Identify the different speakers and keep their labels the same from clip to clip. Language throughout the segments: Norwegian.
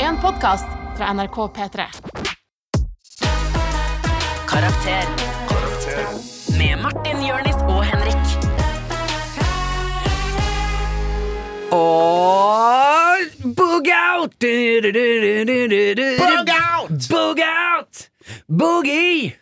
Speaker 1: en podkast fra NRK P3.
Speaker 2: Karakter. Med Martin, Jørnis og Henrik.
Speaker 3: Og boog out! Boog
Speaker 4: out!
Speaker 3: Boog out! Boogie!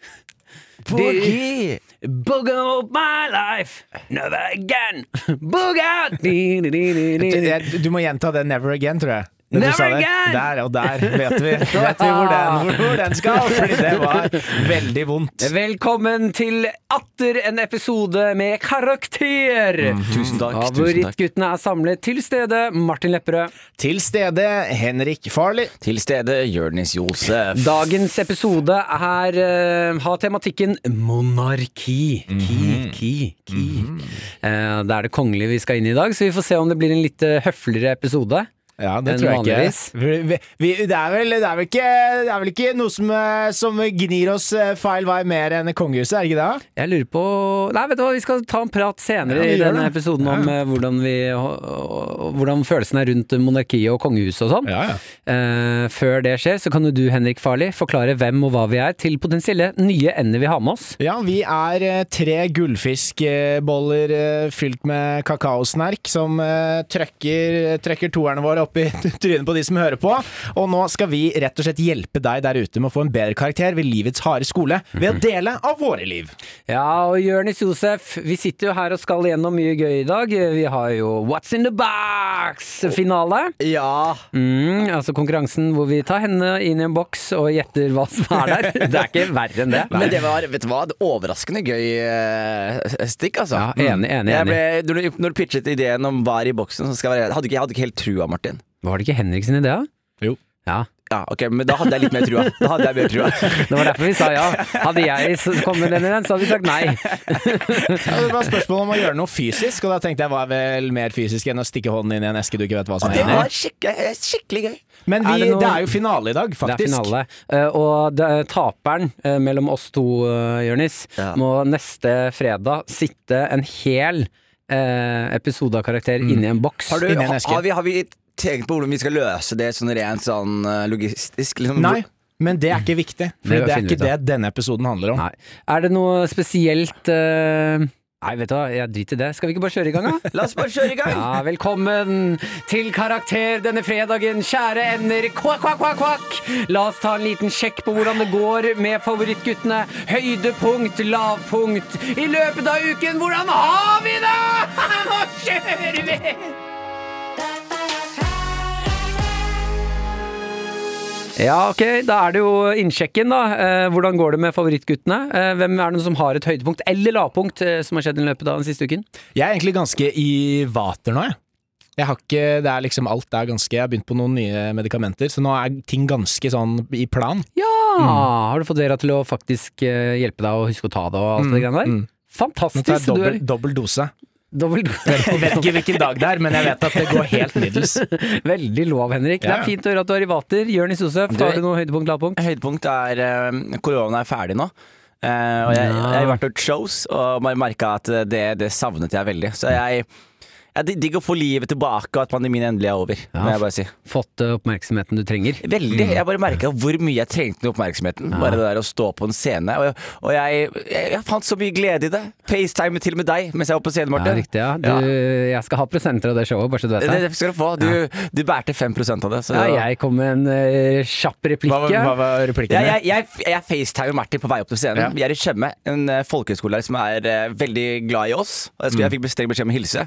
Speaker 4: Boogie!
Speaker 3: Boog out my life! Never again! Boog out!
Speaker 4: Du, jeg- du må gjenta det 'never again', tror jeg. Det du
Speaker 3: Never
Speaker 4: sa der.
Speaker 3: again!
Speaker 4: Der og der vet vi, vet vi hvor, den, hvor den skal, fordi det var veldig vondt.
Speaker 3: Velkommen til atter en episode med Karakter!
Speaker 5: Mm, Tusen takk. tusen takk.
Speaker 3: Favorittguttene er samlet til stede. Martin Lepperød.
Speaker 4: Til stede Henrik Farley.
Speaker 5: Til stede Jørnis Josef.
Speaker 3: Dagens episode er, eh, har tematikken monarki.
Speaker 4: Mhm.
Speaker 3: Ki, ki, ki. Eh, det er det kongelige vi skal inn i i dag, så vi får se om det blir en litt eh, høfligere episode.
Speaker 4: Ja, det
Speaker 3: Enn
Speaker 4: tror jeg
Speaker 3: vanligvis.
Speaker 4: ikke. Vi, vi- vi, det, er vel, det, er vel ikke, det er vel ikke noe som, eh, som gnir oss eh, feil vei mer enn kongehuset, er det ikke det?
Speaker 3: Jeg lurer på Nei, vet du hva, vi skal ta en prat senere
Speaker 4: Ja, vi
Speaker 3: i
Speaker 4: gjør
Speaker 3: denne
Speaker 4: det.
Speaker 3: episoden om eh, hvordan, vi, og- og- hvordan følelsen er rundt monarkiet og kongehuset og sånn.
Speaker 4: Ja, ja.
Speaker 3: Eh, før det skjer, så kan jo du, Henrik Farli, forklare hvem og hva vi er til potensielle nye ender vi har med oss.
Speaker 4: Ja, vi er eh, tre gullfiskboller eh, fylt med kakaosnerk som eh, trøkker, trøkker toerne våre opp i trynet på de som hører på. Og nå skal vi rett og slett hjelpe deg der ute med å få en bedre karakter ved livets harde skole ved
Speaker 3: Mhm.
Speaker 4: å dele av våre liv.
Speaker 3: Ja, og Jørnis Josef, vi sitter jo her og skal gjennom mye gøy i dag. Vi har jo What's in the box-finale.
Speaker 5: Ja.
Speaker 3: Mm, altså konkurransen hvor vi tar henne inn i en boks og gjetter hva som er der. Det er ikke verre enn det.
Speaker 5: Men det var vet du hva, det overraskende gøy eh, stikk, altså.
Speaker 3: Ja, enig, enig,
Speaker 5: Jeg ble, når, du, når du pitchet ideen om hva er i boksen som skal være hadde ikke, Jeg hadde ikke helt trua, Martin.
Speaker 3: Var det ikke Henrik sin idé? da?
Speaker 4: Jo.
Speaker 3: Ja.
Speaker 5: Ja, ok, Men da hadde jeg litt mer trua. Da hadde jeg mer trua.
Speaker 3: Det var derfor vi sa ja. Hadde jeg s- kommet med den ideen, så hadde vi sagt nei.
Speaker 4: Ja, det var spørsmål om å gjøre noe fysisk, og da tenkte jeg hva er vel mer fysisk enn å stikke hånden inn i en eske du ikke vet hva som
Speaker 5: Det
Speaker 4: er inni.
Speaker 5: var skikkelig, skikkelig gøy.
Speaker 4: Men
Speaker 3: Er
Speaker 4: vi,
Speaker 3: det
Speaker 4: det,
Speaker 3: noe-
Speaker 4: er jo finale i dag,
Speaker 3: Det er
Speaker 4: faktisk.
Speaker 3: finale. Eh, Og det- taperen eh, mellom oss to, eh, Jørnis,
Speaker 5: Ja.
Speaker 3: må neste fredag sitte en hel eh, episode av karakter inni en boks.
Speaker 5: Har, du,
Speaker 4: Inni en
Speaker 5: ha-
Speaker 4: eske.
Speaker 5: har, vi, har vi tenkt på hvordan vi skal løse det sånn rent sånn eh, logistisk? Liksom,
Speaker 4: Nei, men det er ikke viktig. For
Speaker 3: Det
Speaker 4: det er
Speaker 3: finner vi
Speaker 4: ikke
Speaker 3: ut av.
Speaker 4: det denne episoden handler om.
Speaker 3: Nei. Er det noe spesielt eh, Nei, vet du hva, jeg driter i det. Skal vi ikke bare kjøre i gang, da?
Speaker 5: La oss bare kjøre i gang.
Speaker 3: Ja, velkommen til Karakter denne fredagen, kjære ender. Kvakk, kvakk, kvakk, kvakk! La oss ta en liten sjekk på hvordan det går med favorittguttene. Høydepunkt, lavpunkt. I løpet av uken, hvordan har vi det?! Nå kjører vi! Ja, ok, da er det jo innsjekken, da. Eh, hvordan går det med favorittguttene? Eh, hvem er det som har et høydepunkt eller lavpunkt eh, som har skjedd i løpet av den siste uken?
Speaker 4: Jeg er egentlig ganske i vater nå, jeg. Jeg har ikke, det er liksom alt er ganske Jeg har begynt på noen nye medikamenter, så nå er ting ganske sånn i plan.
Speaker 3: Ja! Ah, Har du fått Vera til å faktisk eh, hjelpe deg å huske å ta det og alt det greiene der?
Speaker 4: Nå tar jeg
Speaker 3: Fantastisk!
Speaker 4: dobbel,
Speaker 3: Du
Speaker 4: dobbel dose.
Speaker 3: er dobbel
Speaker 4: Jeg vet ikke hvilken dag det er, men jeg vet at det går helt middels.
Speaker 3: Veldig lov, Henrik. Det
Speaker 4: Ja.
Speaker 3: er fint å høre at du er i vater. Jonis Josef,
Speaker 5: Du-
Speaker 3: har du noe høydepunkt, lavpunkt?
Speaker 5: Høydepunkt er eh, korona er ferdig nå. Eh, og jeg,
Speaker 3: Ja.
Speaker 5: jeg har vært og gjort shows og bare merka at det, det savnet jeg veldig. Så jeg, jeg dig- digger å få livet tilbake og at pandemien endelig er over. må jeg bare si.
Speaker 3: Fått eh, oppmerksomheten du trenger?
Speaker 5: Veldig. Jeg bare merka hvor mye jeg trengte den oppmerksomheten. Bare det der å stå på en scene. Og, og jeg, jeg, jeg fant så mye glede i det. FaceTime til og med deg mens jeg var på scenen,
Speaker 3: Ja,
Speaker 5: Martin.
Speaker 3: riktig. ja. Du,
Speaker 5: Ja.
Speaker 3: Jeg skal ha prosenter av det showet, bare så du vet
Speaker 5: Det,
Speaker 3: det.
Speaker 5: det skal du få. Du, du bærte 5 av det. Så
Speaker 3: Ja, jeg kom med en eh, kjapp
Speaker 4: Hva
Speaker 3: replikk.
Speaker 4: var, hva
Speaker 3: ja.
Speaker 4: var
Speaker 5: Ja,
Speaker 4: replikken
Speaker 5: jeg,
Speaker 4: din?
Speaker 5: jeg, jeg facetimer Martin på vei opp til scenen. Vi er i Tjøme, en eh, folkehøyskole som er eh, veldig glad i oss. Og jeg, skulle, jeg fikk streng beskjed om å hilse.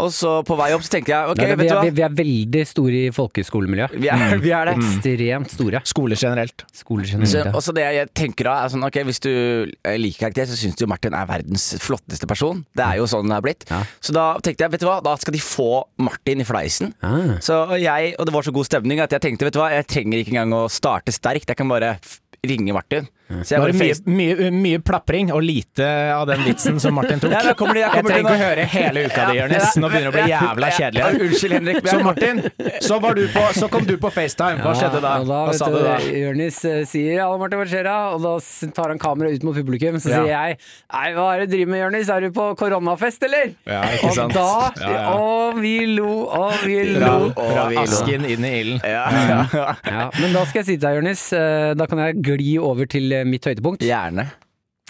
Speaker 5: Og så på vei opp så tenkte jeg
Speaker 3: Mm.
Speaker 5: ok,
Speaker 3: Nei, vi,
Speaker 5: vet du
Speaker 3: er,
Speaker 5: hva.
Speaker 3: vi, vi er veldig store i folkehøyskolemiljøet.
Speaker 5: Vi er, vi er det.
Speaker 3: Ekstremt store.
Speaker 4: Skoler generelt.
Speaker 3: Skoler
Speaker 5: Så,
Speaker 3: generelt.
Speaker 5: og
Speaker 3: ja.
Speaker 5: så det jeg tenker da er sånn, ok, Hvis du eh, liker karakter, så syns du Martin er verdens flotteste person. Det er jo sånn det er blitt.
Speaker 3: Mm. Ja.
Speaker 5: Så da tenkte jeg, vet du hva, da skal de få Martin i fleisen.
Speaker 3: Ah.
Speaker 5: Så jeg, og det var så god stemning at jeg tenkte, vet du hva, jeg trenger ikke engang å starte sterkt. Jeg kan bare f- ringe Martin. Så jeg
Speaker 4: Nå er
Speaker 5: bare
Speaker 4: det mye,
Speaker 5: face-
Speaker 4: mye, mye plapring og lite av den vitsen som Martin tok.
Speaker 5: Ja, da kommer de- jeg
Speaker 4: jeg
Speaker 5: kommer til
Speaker 4: trenger ikke å
Speaker 5: nå.
Speaker 4: høre hele uka di, Jonis. Nå begynner det å bli jævla kjedelig.
Speaker 5: Ja, Unnskyld, Henrik. men
Speaker 4: Så
Speaker 5: jeg-
Speaker 4: Martin, så, var du på, så kom du på FaceTime. Hva skjedde da?
Speaker 3: Ja, og
Speaker 4: Hva
Speaker 3: vet
Speaker 4: sa du da?
Speaker 3: Jørnis eh, sier ja, Martin, hva skjer da? Og da s- tar han kameraet ut mot publikum, så
Speaker 4: Ja.
Speaker 3: sier jeg Nei, hva er det du driver med, Jørnis? Er du på koronafest, eller?
Speaker 4: Ja, ikke
Speaker 3: og
Speaker 4: sant.
Speaker 3: da
Speaker 4: Ja, ja.
Speaker 3: Og vi lo, og vi
Speaker 4: Fra,
Speaker 3: lo.
Speaker 4: fra asken inn i ilden. Mm.
Speaker 5: Ja, ja.
Speaker 3: Ja, men da skal jeg si til deg, Jørnis, eh, da kan jeg gli over til eh, mitt høydepunkt.
Speaker 5: Gjerne.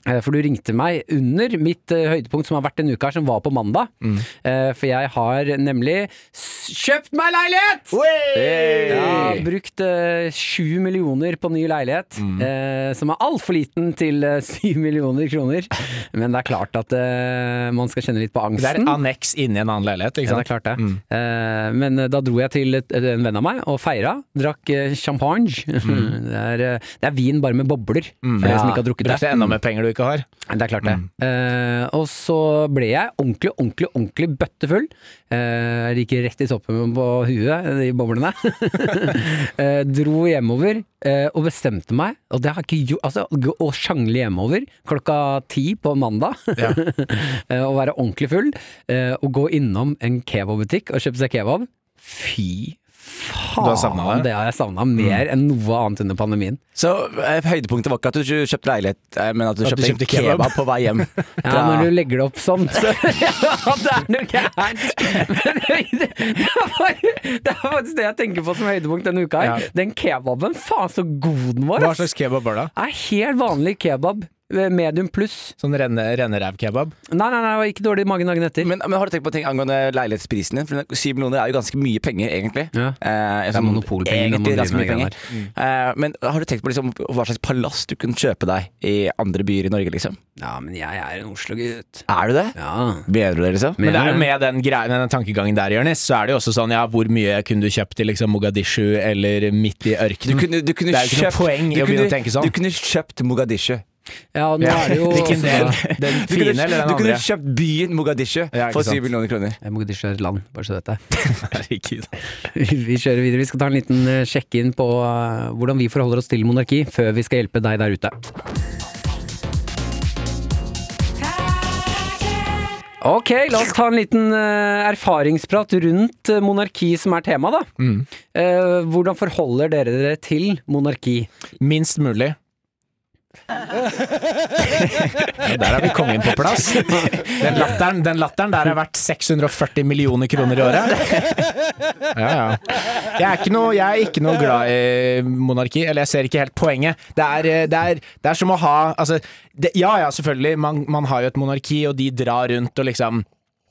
Speaker 3: Eh, For du ringte meg under mitt eh, høydepunkt som har vært denne uka, her, som var på mandag.
Speaker 4: Mm.
Speaker 3: Eh, For jeg har nemlig s- kjøpt meg leilighet! Jeg har brukt eh, sju millioner på ny leilighet,
Speaker 4: Mm.
Speaker 3: eh, som er altfor liten til eh, syv millioner kroner. Men det er klart at eh, man skal kjenne litt på angsten.
Speaker 4: Det er et anneks inni en annen leilighet, ikke
Speaker 3: Ja, det er
Speaker 4: sant? Mm.
Speaker 3: klart det. Eh, men eh, da dro jeg til et, en venn av meg og feira. Drakk eh, champagne. det, er, eh, det er vin bare med bobler, for dere som ikke har drukket det.
Speaker 4: Mm. Brukte enda mer penger du ikke har.
Speaker 3: Det er klart
Speaker 4: Mm.
Speaker 3: det. Eh, og så ble jeg ordentlig, ordentlig, ordentlig bøttefull. Eh, jeg gikk rett i toppen på huet, de boblene. eh, dro hjemover eh, og bestemte meg, og det har jeg ikke gjort, altså gå- å sjangle hjemover klokka ti på mandag. eh, og være ordentlig full, eh, og gå innom en kebabbutikk og kjøpe seg kebab. Fy faen,
Speaker 4: Du har savnet det? Mm.
Speaker 3: det har jeg savna mer enn noe annet under pandemien.
Speaker 5: Så eh, høydepunktet var ikke at du kjø- kjøpte leilighet, eh, men at du
Speaker 4: At du kjøpte
Speaker 5: kjøpte, en kebab.
Speaker 4: kebab.
Speaker 5: på vei hjem.
Speaker 3: Ja,
Speaker 5: fra-
Speaker 3: når du legger det opp sånn, så ja, det er noe gærent. Men det, det, er bare, det er faktisk det jeg tenker på som høydepunkt denne uka. her.
Speaker 4: Ja.
Speaker 3: Den kebaben, faen så god den var!
Speaker 4: Hva
Speaker 3: ass.
Speaker 4: slags kebab var det?
Speaker 3: Er helt vanlig kebab. eh, Medium pluss.
Speaker 4: Sånn renne, rennerevkebab?
Speaker 3: Nei, nei, nei, det var ikke dårlig mange dagen etter.
Speaker 5: Men, men har du tenkt på ting angående leilighetsprisen din? For 7 millioner er jo ganske mye penger, egentlig.
Speaker 3: Ja.
Speaker 5: Eh,
Speaker 3: er monopolpenger når man
Speaker 5: Egentlig
Speaker 3: driver
Speaker 5: ganske mye
Speaker 3: med
Speaker 5: penger. Eh, men har du tenkt på liksom, hva slags palass du kunne kjøpe deg i andre byer i Norge, liksom?
Speaker 3: Ja, men jeg er en Oslo-gutt.
Speaker 5: Er du det?
Speaker 3: Ja.
Speaker 5: Mener du det, liksom?
Speaker 4: Men det er jo med den, grei- den tankegangen der, Jonis, så er det jo også sånn ja, hvor mye kunne du kjøpt i liksom Mogadishu eller midt i
Speaker 5: Du
Speaker 4: ørkenen?
Speaker 5: kunne, du kunne
Speaker 4: Det er jo ikke noe
Speaker 5: kjøpt-
Speaker 4: poeng i
Speaker 5: du
Speaker 4: å begynne å
Speaker 5: kunne-
Speaker 4: tenke sånn.
Speaker 5: Du kunne kjøpt Mogadishu.
Speaker 3: ja, nå er det jo
Speaker 4: Hvilken del? Den
Speaker 5: Du kunne,
Speaker 4: fine eller den
Speaker 5: du kunne
Speaker 4: andre?
Speaker 5: kjøpt byen Mogadishu
Speaker 4: Ja, ikke
Speaker 5: for
Speaker 4: sant.
Speaker 5: 7 millioner kroner.
Speaker 3: Jeg må ikke kjøre et land, bare så du vet det.
Speaker 4: Herregud.
Speaker 3: Vi kjører videre. Vi skal ta en liten eh, sjekk-inn på eh, hvordan vi forholder oss til monarki, før vi skal hjelpe deg der ute. Ok, la oss ta en liten eh, erfaringsprat rundt eh, monarki som er tema, da.
Speaker 5: Mm.
Speaker 3: Eh, hvordan forholder dere dere til monarki?
Speaker 4: Minst mulig. Der har vi kongen på plass. Den latteren, den latteren der er verdt 640 millioner kroner i året. Ja, ja. Jeg er ikke noe, jeg er ikke noe glad i monarki, eller jeg ser ikke helt poenget. Det er, eh, det er, det er som å ha altså, det, Ja ja, selvfølgelig, man, man har jo et monarki, og de drar rundt og liksom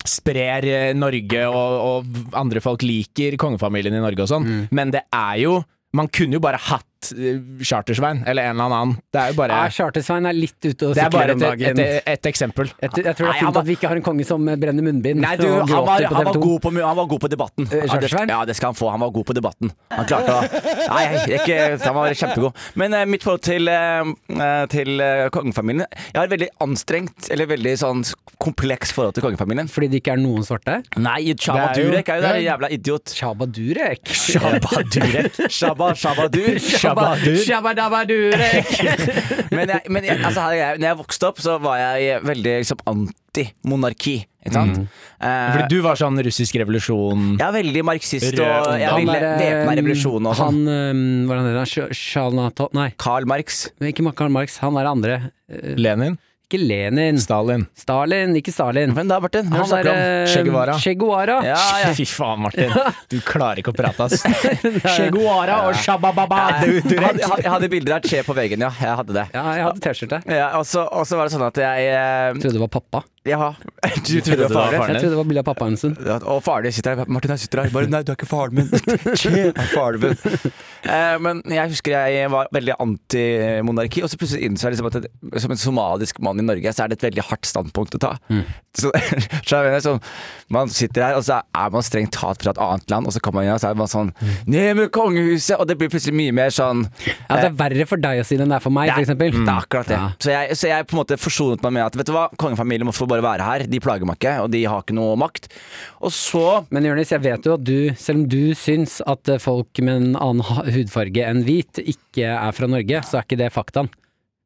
Speaker 4: sprer eh, Norge, og, og andre folk liker kongefamilien i Norge og sånn, men det er jo Man kunne jo bare hatt eh, Chartersvein, eller en eller annen. Det er jo bare
Speaker 3: Ja, Ah, Charter-Svein er litt ute og
Speaker 4: det er
Speaker 3: sykler
Speaker 4: bare
Speaker 3: om
Speaker 4: et, et,
Speaker 3: dagen.
Speaker 4: et, et eksempel.
Speaker 3: Jeg, tror- jeg tror det er
Speaker 5: Nei, han
Speaker 3: fint
Speaker 5: var-
Speaker 3: at vi ikke har en konge som eh, brenner munnbind.
Speaker 5: Nei, du,
Speaker 3: og
Speaker 5: han var,
Speaker 3: gråter på
Speaker 5: han, var
Speaker 3: TV2.
Speaker 5: god på, mu- han var god på debatten. Ja, det,
Speaker 3: Kjørsveien?
Speaker 5: ja, det skal han få. Han var god på debatten. Han klarte å Nei, jeg, er ikke, han var kjempegod. Men eh, mitt forhold til, eh, eh, til eh, kongefamilien Jeg har et veldig anstrengt, eller veldig sånn kompleks forhold til kongefamilien.
Speaker 3: Fordi det ikke er noen svarte?
Speaker 5: Nei, Chaba
Speaker 4: Det er jo-
Speaker 5: Durek er jo der,
Speaker 4: Ja.
Speaker 5: jævla idiot.
Speaker 3: Chaba Durek.
Speaker 5: Chaba Durek. Chaba, Chaba Dur.
Speaker 4: Shabadur.
Speaker 5: Men, jeg, men jeg, altså, her er jeg, når jeg vokste opp, så var jeg veldig liksom, anti-monarki. Ikke sant? Eh,
Speaker 4: Fordi du var sånn russisk revolusjon
Speaker 5: jeg er veldig marxist,
Speaker 4: Rød
Speaker 5: og jeg
Speaker 4: ungdom.
Speaker 3: Han
Speaker 5: ville
Speaker 3: er,
Speaker 5: væpna
Speaker 3: eh,
Speaker 5: revolusjon og sånn.
Speaker 3: Han, eh, hvordan heter han, Sh- Shalnato- Nei,
Speaker 5: Karl Marx.
Speaker 3: ikke Karl Marx, han er andre. Eh,
Speaker 4: Lenin,
Speaker 3: Ikke Lenin.
Speaker 4: Stalin.
Speaker 3: Stalin, ikke Stalin.
Speaker 5: Hvem da, Martin? Hvem
Speaker 3: Han
Speaker 5: snakker du om?
Speaker 3: er eh,
Speaker 4: Che Guevara.
Speaker 3: Che Guevara.
Speaker 5: Ja, ja.
Speaker 4: Fy faen, Martin. Du klarer ikke å prate, ass. Che Guevara og Shabababa.
Speaker 5: Jeg hadde, jeg hadde bilder av Che på veggen, ja. Jeg hadde det.
Speaker 3: Ja, jeg hadde T-skjorte. Jeg
Speaker 5: Ja, og så og så var det sånn at jeg eh,
Speaker 3: trodde det var pappa.
Speaker 5: Ja. Du
Speaker 4: trodde det var
Speaker 5: din?
Speaker 3: Jeg
Speaker 4: faren din?
Speaker 3: trodde det var bilde av pappaen sin.
Speaker 5: Ja, og faren din sitter her. Martin, jeg sitter her. Bare, nei, du er ikke faren min. Che er faren min. Eh, men jeg husker jeg var veldig antimonarki, og så plutselig innså jeg liksom at det, som en somalisk mann i Norge, så er det et veldig hardt standpunkt å ta.
Speaker 3: Mm.
Speaker 5: Så, så jeg mener, sånn, man sitter her, og så er man strengt tatt fra et annet land, og så kommer man inn og så er man sånn Ned med kongehuset! Og det blir plutselig mye mer sånn
Speaker 3: Mm. Ja, det er verre for deg å si det enn det er for meg,
Speaker 5: Det er- Mm.
Speaker 3: for eksempel.
Speaker 5: Det er akkurat det.
Speaker 3: Ja.
Speaker 5: Så, jeg, så jeg på en måte forsonet meg med at vet du hva, kongefamilien må få bare være her. De plager meg ikke, og de har ikke noe makt. Og så
Speaker 3: Men Jonis, jeg vet jo at du, selv om du syns at eh, folk med en annen ha- hudfarge enn hvit ikke er fra Norge, så er ikke det faktaen.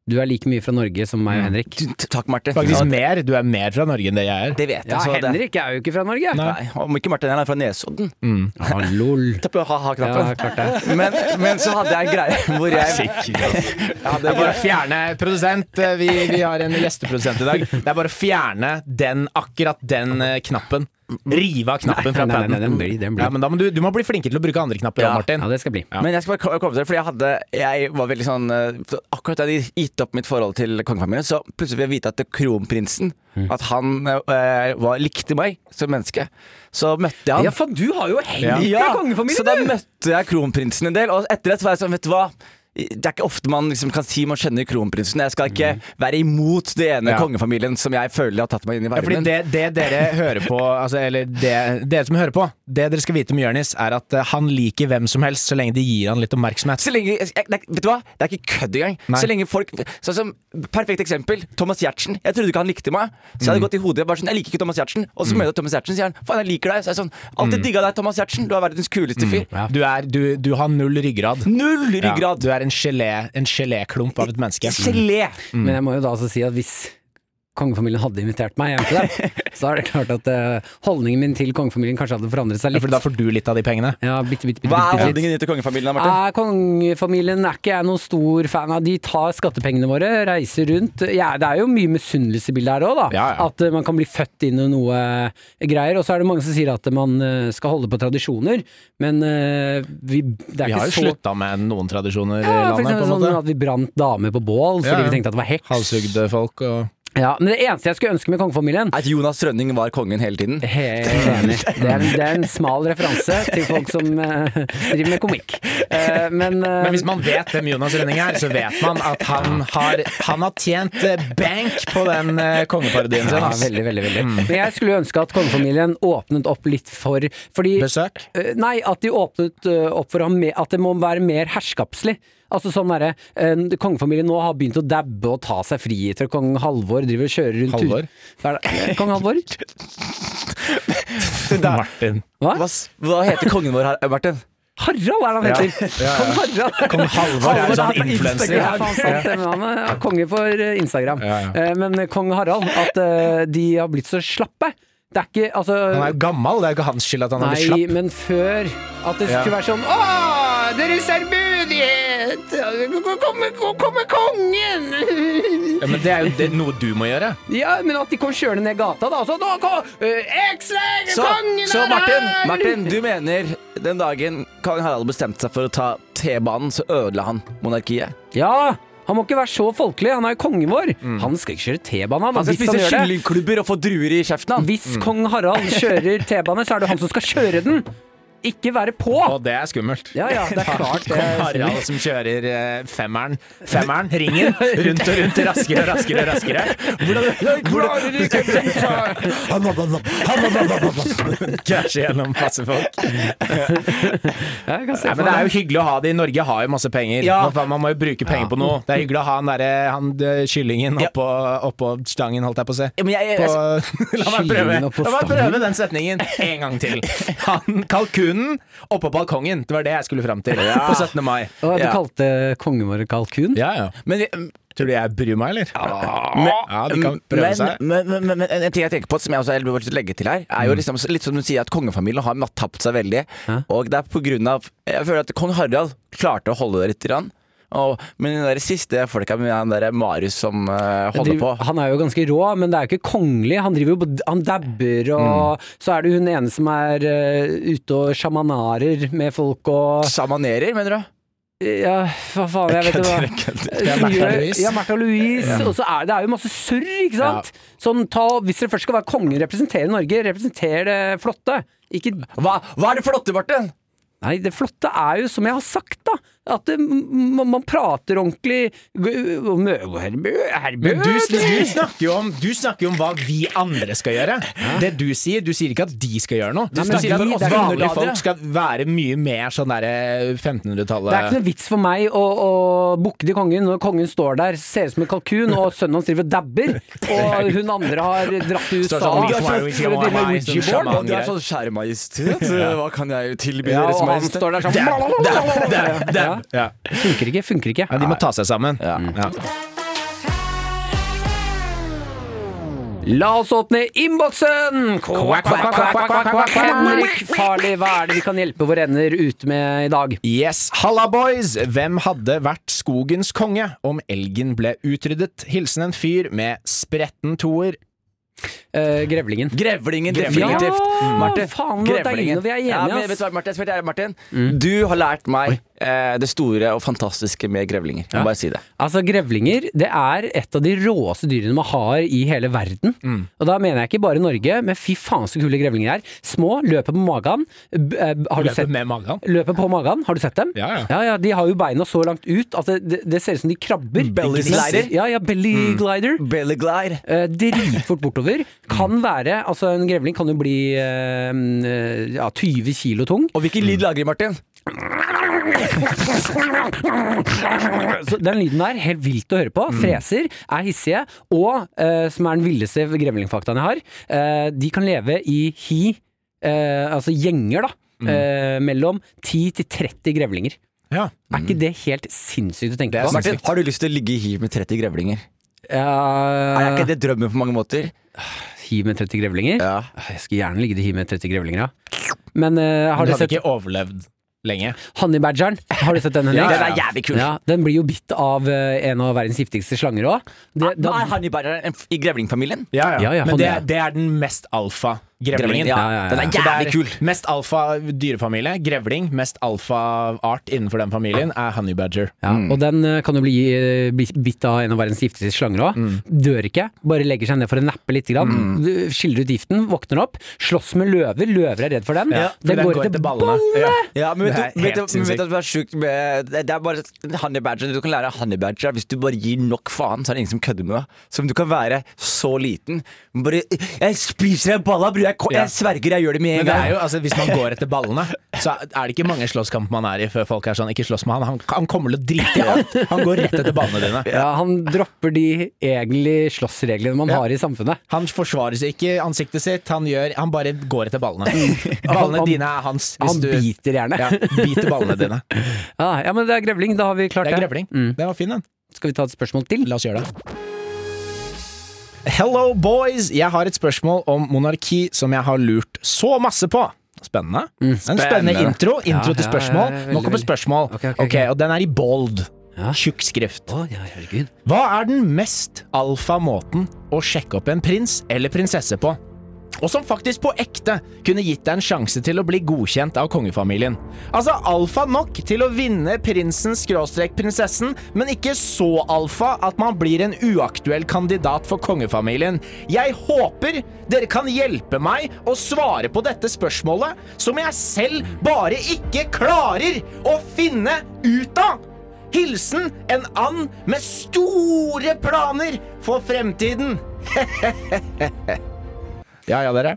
Speaker 3: Du er like mye fra Norge som meg og Henrik.
Speaker 5: T- t- Takk, Marte.
Speaker 4: Faktisk
Speaker 5: Ja,
Speaker 4: mer. Du er mer fra Norge enn det jeg er.
Speaker 5: det vet jeg.
Speaker 3: Ja,
Speaker 5: så det-
Speaker 3: Henrik er jo ikke fra Norge!
Speaker 5: Nei, om ikke Martin, han er fra Nesodden.
Speaker 3: Ja, lol.
Speaker 5: Ta
Speaker 3: Ja,
Speaker 5: på ha-ha-knappen.
Speaker 3: klart det.
Speaker 5: men, men så hadde jeg en greie hvor jeg ja,
Speaker 4: Det
Speaker 5: det
Speaker 4: er bare
Speaker 5: var,
Speaker 4: å fjerne produsent. eh, Vi, vi har en gjesteprodusent i dag. Det er bare å fjerne den, akkurat den eh, knappen. Rive av knappen fra
Speaker 3: Nei, nei, nei,
Speaker 4: paden.
Speaker 3: den blir- den blir.
Speaker 4: Ja, men da må du, du må bli flinkere til å bruke andre knapper,
Speaker 5: Ja.
Speaker 4: Martin.
Speaker 3: Ja, det skal bli.
Speaker 5: Men jeg skal bare ko- komme til det, fordi jeg hadde Jeg var veldig sånn eh, Akkurat da jeg hadde gitt opp mitt forhold til kongefamilien, så plutselig fikk jeg vite at det- kronprinsen
Speaker 3: Mm.
Speaker 5: At han eh, var, likte meg som menneske. Så møtte jeg han.
Speaker 3: Ja, faen, du har jo Henrik fra
Speaker 5: Så da
Speaker 3: kongefamilien, du!
Speaker 5: møtte jeg kronprinsen en del, og etter det så var jeg sånn, vet du hva? Det er ikke ofte man liksom kan si man kjenner kronprinsen. Jeg skal ikke være imot det ene
Speaker 4: Mm. Ja.
Speaker 5: kongefamilien som jeg føler har tatt meg inn i
Speaker 4: Ja, fordi
Speaker 5: varmen.
Speaker 4: det, det dere hører på, altså, eller det, dere som hører på, det dere skal vite om Jonis, er at eh, han liker hvem som helst så lenge de gir han litt oppmerksomhet.
Speaker 5: så lenge, jeg, det er- vet du hva? Det er ikke kødd engang.
Speaker 4: Nei.
Speaker 5: Så lenge folk Sånn som Perfekt eksempel. Thomas Giertsen. Jeg trodde ikke han likte meg. Så jeg
Speaker 4: Mm.
Speaker 5: hadde gått i hodet bare sånn Jeg liker ikke Thomas Giertsen. Og så møter jeg Thomas Giertsen, sier han faen, jeg liker deg. Så jeg er sånn Alltid
Speaker 4: Mm.
Speaker 5: digga deg, Thomas Giertsen. Du er verdens kuleste fyr.
Speaker 4: Du, er, du, du har null ryggrad.
Speaker 5: Null
Speaker 4: Ja,
Speaker 5: ryggrad.
Speaker 4: du er en gelé- en geléklump av et menneske.
Speaker 5: Gelé.
Speaker 4: Mm.
Speaker 3: Men jeg må jo da altså si at hvis kongefamilien hadde invitert meg hjem til dem, så er det klart at eh, holdningen min til kongefamilien kanskje hadde forandret seg
Speaker 4: Ja,
Speaker 3: litt.
Speaker 4: for da får du litt av de pengene.
Speaker 3: Ja, bitte, bitte, bitte, bitte,
Speaker 5: Hva er
Speaker 3: bitte litt.
Speaker 5: holdningen din til kongefamilien, da, Martin?
Speaker 3: Eh, kongefamilien er ikke jeg noen stor fan av. De tar skattepengene våre, reiser rundt. Ja, det er jo mye misunnelsebilde her òg, da.
Speaker 4: Ja, ja.
Speaker 3: At eh, man kan bli født inn i noe eh, greier. Og så er det mange som sier at man eh, skal holde på tradisjoner, men eh, vi, det er
Speaker 4: Vi har
Speaker 3: ikke så
Speaker 4: jo slutta med noen tradisjoner i
Speaker 3: ja, for
Speaker 4: landet, på
Speaker 3: eksempel
Speaker 4: en
Speaker 3: sånn
Speaker 4: måte.
Speaker 3: at vi brant damer på bål fordi
Speaker 4: Ja, ja.
Speaker 3: vi tenkte at det var heks.
Speaker 4: Halshugde folk og
Speaker 3: Ja, men det eneste jeg skulle ønske med kongefamilien
Speaker 5: At Jonas Rønning var kongen hele tiden?
Speaker 3: Helt enig. Det er, en, det er en smal referanse til folk som eh, driver med komikk. Eh, men, eh,
Speaker 4: Men hvis man vet hvem Jonas Rønning er, så vet man at han har, han har tjent eh, bank på den eh, kongeparodien sin.
Speaker 3: ja,
Speaker 4: ass.
Speaker 3: veldig, veldig, veldig.
Speaker 4: Mm.
Speaker 3: Men jeg skulle ønske at kongefamilien åpnet opp litt for Fordi
Speaker 4: Besøk?
Speaker 3: Eh, Nei, at de åpnet eh, opp for å ha me- at det må være mer herskapslig. Altså sånn derre eh, Kongefamilien nå har begynt å dabbe og ta seg friheter. Kong Halvor driver og kjører rundt
Speaker 4: Halvor?
Speaker 3: Hva er det? Eh, Kong Halvor?
Speaker 4: Martin.
Speaker 3: Hva?
Speaker 5: Hva, s- hva heter kongen vår, her, eh, Martin?
Speaker 3: Harald er det han heter! Kong Harald!
Speaker 4: Kong Halvor er en sånn influenser.
Speaker 3: Ja, faen sant, det, men han er- er konge for eh, Instagram.
Speaker 4: Ja, ja.
Speaker 3: Eh, Men kong Harald, at eh, de har blitt så slappe. Det er ikke altså
Speaker 4: Han er jo gammel, det er jo ikke hans skyld at han har
Speaker 3: Nei,
Speaker 4: blitt slapp.
Speaker 3: men før at det
Speaker 4: Ja.
Speaker 3: skulle være sånn Å, deres ærbødighet! Kommer kommer kongen!
Speaker 4: Ja, men det er jo det, noe du må gjøre.
Speaker 3: Ja, men at de kom kjørende ned gata, da. Så nå kom X-Leger,
Speaker 5: Så,
Speaker 3: kongen
Speaker 5: så
Speaker 3: er
Speaker 5: Martin,
Speaker 3: her!
Speaker 5: Martin, du mener den dagen kong Harald bestemte seg for å ta T-banen, så ødela han monarkiet?
Speaker 3: Ja! Han må ikke være så folkelig, han er jo kongen vår. Han skal ikke kjøre T-bane, han.
Speaker 5: Han skal
Speaker 3: Hvis han
Speaker 5: spise
Speaker 3: gjør det
Speaker 5: kyllingklubber og få druer i kjeften, han.
Speaker 3: Hvis kong Harald kjører T-bane, så er det han som skal kjøre den, ikke være på!
Speaker 4: Og det er skummelt.
Speaker 3: Ja, ja, det er klart. det
Speaker 4: Kong
Speaker 3: er
Speaker 4: Harald som kjører eh, femmeren, femmeren, ringen, rundt og rundt, raskere og raskere og raskere. Hvordan, hvordan Krasje gjennom masse folk.
Speaker 3: Ja, jeg kan se
Speaker 4: Nei, men
Speaker 3: for
Speaker 4: det er
Speaker 3: meg
Speaker 4: jo hyggelig å ha det. I Norge har jo masse penger.
Speaker 5: Ja.
Speaker 4: Hva faen, Man må jo bruke penger på noe. Det er hyggelig å ha han derre han eh, kyllingen
Speaker 5: Ja.
Speaker 4: oppå, oppå stangen, holdt jeg på å si.
Speaker 5: Ja, men jeg, jeg,
Speaker 4: På,
Speaker 5: altså,
Speaker 4: la meg prøve
Speaker 3: Kyllingen oppå
Speaker 4: La meg
Speaker 3: stangen?
Speaker 4: prøve den setningen en gang til. Han, kalkunen oppå balkongen. Det var det jeg skulle fram til på 17. mai.
Speaker 3: Å, Du
Speaker 5: Ja.
Speaker 3: kalte kongen vår kalkun?
Speaker 4: Ja, ja.
Speaker 5: men, men,
Speaker 4: Tror du jeg bryr meg, eller? Ja, de kan prøve seg.
Speaker 5: men, men, men, men en ting jeg tenker på, som jeg også vil legge til her, er jo liksom, litt som du sier, at kongefamilien har tapt seg veldig. Og det er på grunn av Jeg føler at kong Harald klarte å holde det litt. Grann. Og, men den der siste folka med han der Marius som eh,
Speaker 3: Han
Speaker 5: holder på
Speaker 3: driver- Han er jo ganske rå, men det er jo ikke kongelig. Han driver jo på Han dabber, og så er det hun ene som er eh, ute og sjamanarer med folk og
Speaker 5: Sjamanerer, mener du?
Speaker 3: Ja, hva faen, jeg vet ikke hva.
Speaker 4: Det er
Speaker 3: Som
Speaker 4: Märtha
Speaker 3: gjør-
Speaker 4: Louise.
Speaker 3: Ja, Märtha Louise. Og så er det er jo masse surr, ikke sant. Sånn, ta, hvis dere først skal være kongen, representere Norge, representere det flotte. Ikke
Speaker 5: Hva, hva er det flotte, Martin?
Speaker 3: Nei, det flotte er jo, som jeg har sagt, da, at det, man, man prater ordentlig G- om Herbø
Speaker 4: Men
Speaker 3: Herbø-
Speaker 4: du, du, snakker jo om, du snakker jo om hva vi andre skal gjøre. Det du sier, du sier ikke at de skal gjøre noe. Du
Speaker 3: men vi,
Speaker 4: sier at
Speaker 3: det
Speaker 4: oss
Speaker 3: er
Speaker 4: vanlige
Speaker 5: underdadige.
Speaker 4: folk skal være mye mer sånn derre
Speaker 3: Det er ikke
Speaker 4: 1500-tallet.
Speaker 3: noe vits for meg å, å bukke til kongen når kongen står der, ser ut som en kalkun, og sønnen hans driver og dabber, og hun andre har dratt til USA
Speaker 4: Står sånn, «Ikke
Speaker 3: for å
Speaker 4: være meg,
Speaker 3: drive med
Speaker 4: meg, sånn
Speaker 3: Ouija board.
Speaker 4: sjaman».
Speaker 5: Og du er sånn Kjære Majestet, hva kan jeg tilby
Speaker 3: Ja,
Speaker 5: Deres
Speaker 3: og han
Speaker 5: Majestet?
Speaker 3: står der sånn
Speaker 4: Dab, dab, dab,
Speaker 3: Ja.
Speaker 4: dab. Ja.
Speaker 3: Funker ikke, funker ikke.
Speaker 4: Ja, de må ta seg sammen. Ja.
Speaker 3: La oss åpne innboksen! Kvakk, kvakk, kvakk, kvakk, kvakk, kvakk. Henrik Farley, hva er det vi kan hjelpe våre ender ut med i dag?
Speaker 4: Yes, halla boys! Hvem hadde vært skogens konge om elgen ble utryddet? Hilsen en fyr med spretten toer.
Speaker 3: Eh, grevlingen.
Speaker 5: Grevlingen,
Speaker 4: Grevlingen.
Speaker 5: definitivt. Mm.
Speaker 3: Ja,
Speaker 5: Marte,
Speaker 3: faen, det er deilig når vi er enige,
Speaker 5: Ja, men
Speaker 3: ass.
Speaker 5: vet du hva, Marte, jeg Mm. skal være ærlig, Martin, du har lært meg eh, det store og fantastiske med grevlinger. Jeg må bare si det.
Speaker 3: Altså, grevlinger det er et av de råeste dyrene man har i hele verden.
Speaker 4: Mm.
Speaker 3: Og da mener jeg ikke bare Norge, men fy faen så kule grevlinger er. Små, løper på magen. B- eh, Har du
Speaker 4: Løper
Speaker 3: sett
Speaker 4: med magen.
Speaker 3: Løper på magen, har du sett dem?
Speaker 4: Ja, ja.
Speaker 3: De har jo beina så langt ut at det, det, det ser ut som de krabber.
Speaker 5: Belly slider.
Speaker 3: Ja, ja, belly
Speaker 4: Mm.
Speaker 3: glider.
Speaker 5: Belly glide.
Speaker 3: Eh, dritfort bortover. Kan
Speaker 4: Mm.
Speaker 3: være Altså, en grevling kan jo bli eh, eh, ja, 20 kilo tung.
Speaker 5: Og hvilken lyd lager de, Martin?
Speaker 3: Så den lyden der, helt vilt å høre på. Freser, er hissige, og eh, som er den villeste grevlingfaktaen jeg har, eh, de kan leve i hi, eh, altså gjenger, da. eh, mellom 10 til 30 grevlinger.
Speaker 4: Ja.
Speaker 3: Er ikke det helt sinnssykt å tenke
Speaker 4: Det er
Speaker 3: på?
Speaker 5: Martin, har du lyst til å ligge i hiv med 30 grevlinger? Er
Speaker 3: Uh,
Speaker 5: ikke det drømmen på mange måter?
Speaker 3: hi med 30 grevlinger?
Speaker 5: Ja.
Speaker 3: Jeg skulle gjerne ligget i hi med 30 grevlinger, ja. Men eh, har
Speaker 4: Du
Speaker 3: du
Speaker 4: hadde
Speaker 3: sett
Speaker 4: ikke overlevd lenge.
Speaker 3: Hannibadgeren? Har du sett den, Henrik?
Speaker 5: Den er jævlig kul.
Speaker 3: Ja, den blir jo bitt av eh, en av verdens giftigste slanger òg.
Speaker 5: Nå er han i, bare, i grevlingfamilien?
Speaker 3: Ja, ja,
Speaker 4: Men
Speaker 3: han
Speaker 4: det,
Speaker 3: er-
Speaker 4: det er den mest alfa grevlingen.
Speaker 5: Grevlingen, ja.
Speaker 3: Ja, ja, ja.
Speaker 5: Den er
Speaker 4: Så det er
Speaker 5: jævlig kul.
Speaker 4: Mest alfa dyrefamilie, grevling. Mest alfa art innenfor den familien er Mm. honey badger.
Speaker 3: Ja, Og den eh, kan jo bli eh, bi- bitt av en av verdens giftigste slanger òg.
Speaker 4: Mm.
Speaker 3: Dør ikke, bare legger seg ned for å nappe litt. Grann. Du- Skiller ut giften, våkner opp, slåss med løver. Løver er redd for den.
Speaker 4: Ja, for
Speaker 3: den, går etter ballene.
Speaker 4: Ja.
Speaker 5: Ja, men
Speaker 4: Det
Speaker 5: vet
Speaker 4: er helt
Speaker 5: du, vet, du, men vet du
Speaker 4: sinnssykt.
Speaker 5: at det er sjukt med Det det er bare en honey badger. Du kan lære av honey badger hvis du bare gir nok faen, så er det ingen som kødder med deg. Som du kan være så liten. Bare Jeg spiser en balla, bror! Jeg, ko-
Speaker 4: Ja.
Speaker 5: jeg sverger, jeg gjør det med
Speaker 4: Men
Speaker 5: en
Speaker 4: det er
Speaker 5: gang.
Speaker 4: jo, altså, hvis man går etter ballene, så er det ikke mange slåsskamp man er i før folk er sånn Ikke slåss med han, han, han kommer til å drite i alt! Han går rett etter ballene dine.
Speaker 3: Ja, han dropper de egentlig slåssreglene man
Speaker 4: Ja.
Speaker 3: har i samfunnet.
Speaker 4: Han forsvarer seg ikke i ansiktet sitt, han, gjør, han bare går etter ballene. Ballene
Speaker 3: han-
Speaker 4: dine er hans.
Speaker 3: Han biter gjerne.
Speaker 4: Ja,
Speaker 3: Ja.
Speaker 4: biter ballene dine.
Speaker 3: ja, men det er grevling. Da har vi klart
Speaker 4: Det
Speaker 3: det.
Speaker 4: er grevling.
Speaker 3: Mm.
Speaker 4: Den var fin, den.
Speaker 3: Skal vi ta et spørsmål til?
Speaker 4: La oss gjøre det. Hello boys, jeg har et spørsmål om monarki som jeg har lurt så masse på. Spennende. En spennende intro. Intro
Speaker 3: Mm. Ja,
Speaker 4: til
Speaker 3: ja,
Speaker 4: spørsmål.
Speaker 3: ja, ja,
Speaker 4: Nå
Speaker 3: veldig,
Speaker 4: kommer
Speaker 3: veldig.
Speaker 4: spørsmål.
Speaker 3: Ok, ok,
Speaker 4: Ok,
Speaker 3: ok.
Speaker 4: Og den er i bold.
Speaker 3: Ja.
Speaker 4: Tjukk skrift.
Speaker 3: Å, ja, herregud.
Speaker 4: Hva er den mest alfa måten å sjekke opp en prins eller prinsesse på? Og som faktisk på ekte kunne gitt deg en sjanse til å bli godkjent av kongefamilien. Altså alfa nok til å vinne prinsen skråstrek prinsessen, men ikke så alfa at man blir en uaktuell kandidat for kongefamilien. Jeg håper dere kan hjelpe meg å svare på dette spørsmålet, som jeg selv bare ikke klarer å finne ut av! Hilsen en and med store planer for fremtiden. ja, ja, dere.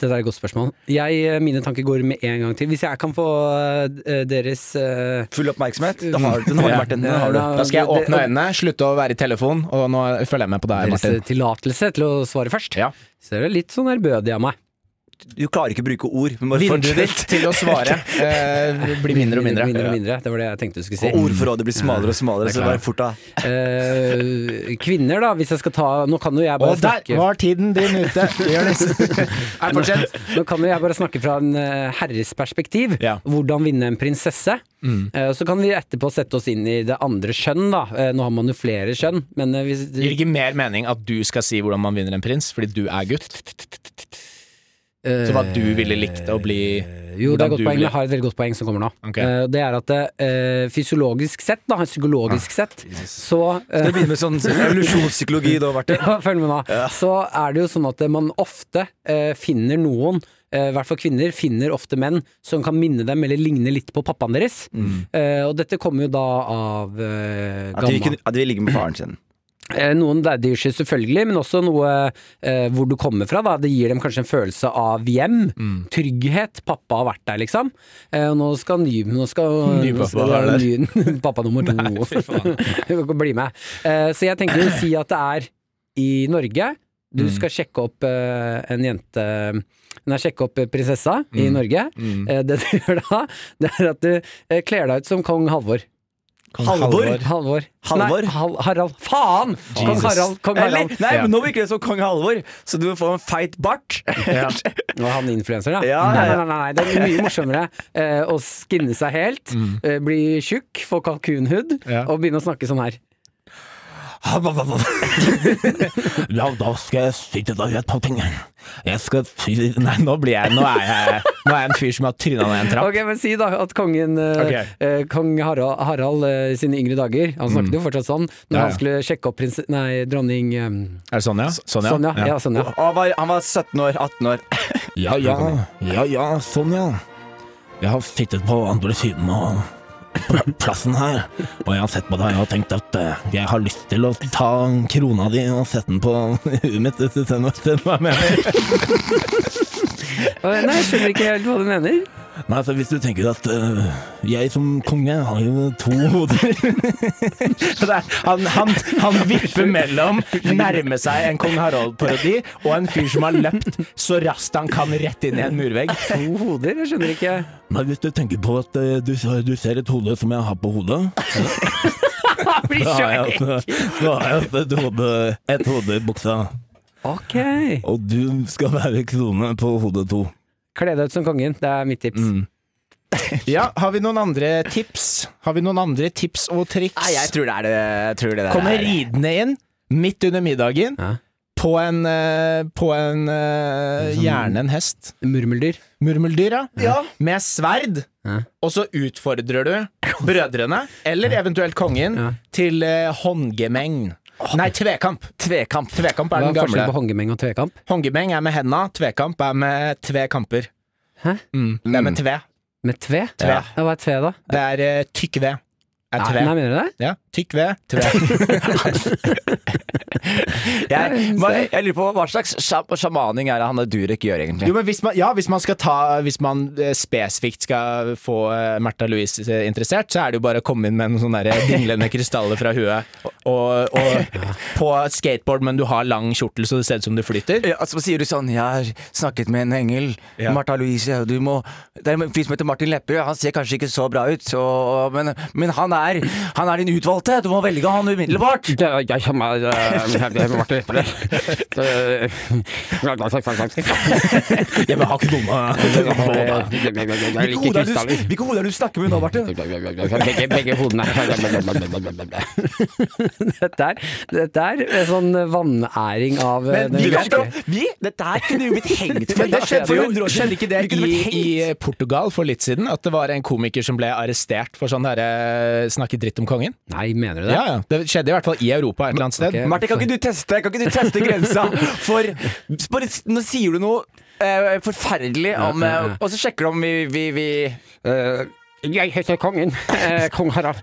Speaker 3: Dette er et godt spørsmål. Jeg, eh, mine tanker går med en gang til. Hvis jeg kan få eh, deres eh,
Speaker 5: Full oppmerksemhet. Den har, den har,
Speaker 4: Ja.
Speaker 5: Martin, den har du.
Speaker 3: Ja,
Speaker 4: Da skal jeg
Speaker 3: det-
Speaker 4: åpne øynene, slutte å være i telefon, og nå følger jeg med på deg,
Speaker 3: deres
Speaker 4: Martin.
Speaker 3: tillatelse til å svare først.
Speaker 4: Ja.
Speaker 3: Så er det litt sånn ærbødig av meg.
Speaker 5: Du klarer ikke å bruke ord. Men bare
Speaker 4: Vinduet ditt
Speaker 5: fortsett.
Speaker 4: til å svare eh, blir mindre og mindre.
Speaker 3: mindre, og mindre. Det var det jeg tenkte du skulle si.
Speaker 5: Og ordforrådet blir smalere og smalere. Så bare fort av.
Speaker 3: Eh, kvinner, da, hvis jeg skal ta Nå kan jo jeg
Speaker 4: Og
Speaker 3: bare
Speaker 4: der
Speaker 3: snakke
Speaker 4: var tiden din ute. Jonis. Nei, fortsett.
Speaker 3: Nå kan jo jeg bare snakke fra en eh, herres perspektiv.
Speaker 4: Ja. Mm.
Speaker 3: Hvordan vinne en prinsesse. Eh, så kan vi etterpå sette oss inn i det andre kjønn, da. Eh, nå har man jo flere kjønn, men eh, hvis
Speaker 4: Gir det ikke mer mening at du skal si hvordan man vinner en prins, fordi du er gutt? Så hva du ville likt å bli
Speaker 3: Jo, det
Speaker 4: hvordan
Speaker 3: er et godt
Speaker 4: du
Speaker 3: poeng.
Speaker 4: ville-
Speaker 3: Jeg har et veldig godt poeng som kommer nå.
Speaker 4: Ok.
Speaker 3: Eh, det er at eh, fysiologisk sett, da, psykologisk
Speaker 4: Ah.
Speaker 3: sett, så eh,
Speaker 5: Det begynner med sånn evolusjonspsykologi da, Martin.
Speaker 3: Ja, følg med nå. Så er det jo sånn at man ofte eh, finner noen, eh, i hvert fall kvinner, finner ofte menn som kan minne dem eller ligne litt på pappaen deres. Eh, og dette kommer jo da av eh,
Speaker 5: Mm. At de,
Speaker 3: gamma.
Speaker 5: kunne, at de ligger med faren sin.
Speaker 3: Eh, Noen leddyrskyer selvfølgelig, men også noe eh, hvor du kommer fra. Da. Det gir dem kanskje en følelse av hjem,
Speaker 4: Mm.
Speaker 3: trygghet. Pappa har vært der, liksom. Eh, og nå skal ny, nå skal,
Speaker 4: Ny
Speaker 3: nå
Speaker 4: pappa
Speaker 3: skal-
Speaker 4: er
Speaker 3: ny- pappa nummer to. Du kan ikke bli med. Eh, så jeg tenkte å si at det er i Norge. Du
Speaker 4: Mm.
Speaker 3: skal sjekke opp eh, en jente Nei, sjekke opp prinsessa
Speaker 4: Mm.
Speaker 3: i Norge. Eh, det du gjør da, det er at du eh, kler deg ut som kong Halvor.
Speaker 5: Halvor?
Speaker 3: Halvor.
Speaker 5: Halvor?
Speaker 3: Nei, Hal Harald. Faen! Kong
Speaker 4: Jesus.
Speaker 3: Harald. Kong
Speaker 5: Eller,
Speaker 3: Harald.
Speaker 5: nei,
Speaker 4: Ja.
Speaker 5: men nå virker det som kong Halvor, så du får en feit bart.
Speaker 4: Ja.
Speaker 3: Og han influenseren, ja.
Speaker 5: Ja, ja,
Speaker 3: Nei,
Speaker 5: ja.
Speaker 3: nei, nei, nei. Det er mye morsommere eh, å skinne seg helt, eh, bli tjukk, få kalkunhud
Speaker 4: Ja.
Speaker 3: og begynne å snakke sånn her.
Speaker 4: Ja, da skal jeg si til deg et par ting. Jeg skal si Nei, nå blir jeg Nå er jeg, nå er jeg en fyr som har tryna ned en trapp.
Speaker 3: Ok, men Si da at kongen eh,
Speaker 4: Ok.
Speaker 3: eh, Kong Harald, Harald eh, sine yngre dager Han snakket jo fortsatt sånn når
Speaker 4: Ja, ja.
Speaker 3: han skulle sjekke opp prins... Nei, dronning eh,
Speaker 4: Er det sånn, ja? Sånn, ja.
Speaker 3: Sonja. Ja, Sonja.
Speaker 5: Og Han var, han var 17 år, 18 år.
Speaker 4: Ja ja, ja ja, sånn ja. Jeg har sittet på andre siden av pl- plassen her, og jeg har sett på deg og tenkt at eh, jeg har lyst til å ta krona di og sette den på huet mitt. hvis du skjønner- skjønner hva jeg mener.
Speaker 3: Å, Eh, Nei, jeg skjønner ikke helt hva du mener.
Speaker 4: Nei, så hvis du tenker at eh, jeg som konge har jo to hoder han, vipper mellom nærme seg en kong Harald-parodi og en fyr som har løpt så raskt han kan rett inn i en murvegg.
Speaker 3: To hoder? Jeg skjønner ikke.
Speaker 4: Nei, hvis du tenker på at eh, du, du ser et hode som jeg har på hodet
Speaker 3: Blir
Speaker 4: Da
Speaker 3: så-
Speaker 4: har jeg altså, da har jeg altså et hode, et hode i buksa
Speaker 3: Ok.
Speaker 4: Og du skal være krone på hodet to
Speaker 3: Kle deg ut som kongen. Det er mitt tips.
Speaker 4: Ja, har vi noen andre tips? Har vi noen andre tips og triks?
Speaker 5: Nei, jeg tror det er det. Jeg tror det, er det
Speaker 4: Kommer
Speaker 5: her.
Speaker 4: ridende inn midt under middagen
Speaker 3: Ja. sånn-
Speaker 4: På en, eh, på en eh, gjerne en hest
Speaker 3: Murmeldyr.
Speaker 4: Murmeldyr, ja, Med sverd
Speaker 3: Ja.
Speaker 4: Og så utfordrer du brødrene Eller eventuelt kongen
Speaker 3: Ja.
Speaker 4: Til eh, håndgemeng Nei, tvekamp
Speaker 5: Tvekamp.
Speaker 4: Tvekamp
Speaker 3: Hva
Speaker 4: er den
Speaker 3: er
Speaker 4: gamle.
Speaker 3: forskjellen på hongemeng og tvekamp?
Speaker 4: Hongemeng er med henda, tvekamp er med tve kamper.
Speaker 3: Hæ?
Speaker 4: Mm. Det er med tve.
Speaker 3: Med tve?
Speaker 4: Tve.
Speaker 3: Ja, hva er tve, da?
Speaker 4: Det er eh, tykk ved. Er
Speaker 3: Nei,
Speaker 4: tve.
Speaker 3: nei, mener du det?
Speaker 4: Ja, tykk ved, tve.
Speaker 5: Jeg, jeg, jeg lurer på hva slags sja- sjamaning er det han der Durek gjør, egentlig?
Speaker 4: Jo, men hvis man, ja, hvis man skal ta Hvis man eh, spesifikt skal få eh, Märtha Louise eh, interessert, så er det jo bare å komme inn med noen sånne der eh, dinglende krystaller fra huet, og, og på skateboard, men du har lang kjortel så det ser ut som du flyter.
Speaker 5: Ja, altså, sier du sånn 'Jeg har snakket med en engel',
Speaker 4: Ja.
Speaker 5: Martha Louise du må, Det er en fyr som heter Martin Lepperød, han ser kanskje ikke så bra ut, så, men, men han, er, han er din utvalgte, du må velge han umiddelbart!
Speaker 3: Det er jeg som er Martin Lepperød.
Speaker 4: Jeg vil ha krona.
Speaker 5: Hvilke hoder er det du, hvilke hoder er det du snakker med nå, Martin?
Speaker 3: Begge, begge hodene. dette, er, dette er en sånn vannæring av eh,
Speaker 4: Men
Speaker 3: den
Speaker 4: du vet
Speaker 3: norske-
Speaker 4: jo-
Speaker 5: Vi, dette her kunne jo blitt hengt for
Speaker 4: Men det skjedde jo
Speaker 5: hundre år siden.
Speaker 4: Skjedde ikke det
Speaker 5: Vi kunne
Speaker 4: i,
Speaker 5: blitt
Speaker 4: i
Speaker 5: hengt.
Speaker 4: Portugal for litt siden? At det var en komiker som ble arrestert for sånn derre snakke dritt om kongen?
Speaker 3: Nei, mener du det?
Speaker 4: Ja, ja. Det skjedde i hvert fall i Europa et eller annet sted.
Speaker 3: Ok.
Speaker 5: Martin, kan ikke du teste, kan ikke du teste grensa? For bare, s- nå sier du noe eh, forferdelig om
Speaker 3: ja,
Speaker 5: eh,
Speaker 3: ja.
Speaker 5: Og så sjekker du om vi, vi, vi
Speaker 3: Eh, jeg heter kongen. Eh, Kong Harald.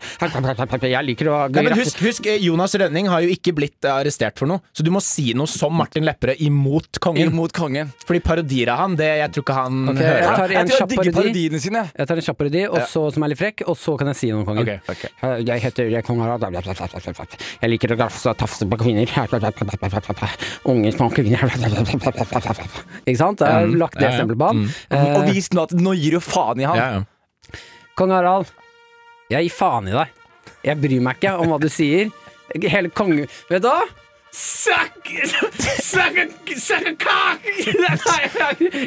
Speaker 3: Jeg liker å
Speaker 4: Nei, men husk, husk, eh, Jonas Rønning har jo ikke blitt eh, arrestert for noe, så du må si noe som Martin Lepperød imot kongen.
Speaker 5: imot kongen.
Speaker 4: Fordi parodier av han, det jeg tror ikke han
Speaker 3: Ok,
Speaker 4: hører.
Speaker 3: Jeg tar en
Speaker 5: jeg
Speaker 3: kjapp
Speaker 5: tror jeg digger
Speaker 3: parodi.
Speaker 5: parodiene sine.
Speaker 3: Jeg tar en kjapp parodi, og så som er litt frekk, og så kan jeg si noe om kongen.
Speaker 4: Ok, ok.
Speaker 3: Eh, Jeg heter jeg er kong Harald. Jeg liker å grafse og tafse på kvinner. Unge små kvinner. Ikke sant? Jeg har lagt det
Speaker 4: ja, ja.
Speaker 3: stempelet på han. Eh,
Speaker 5: Og vis nå at nå gir du faen i han.
Speaker 4: Ja, ja.
Speaker 3: Kong Harald, jeg gir faen i deg. Jeg bryr meg ikke om hva du sier. Hele konge... Vet du hva? Suck Suck a, suck a cock! Nei, jeg,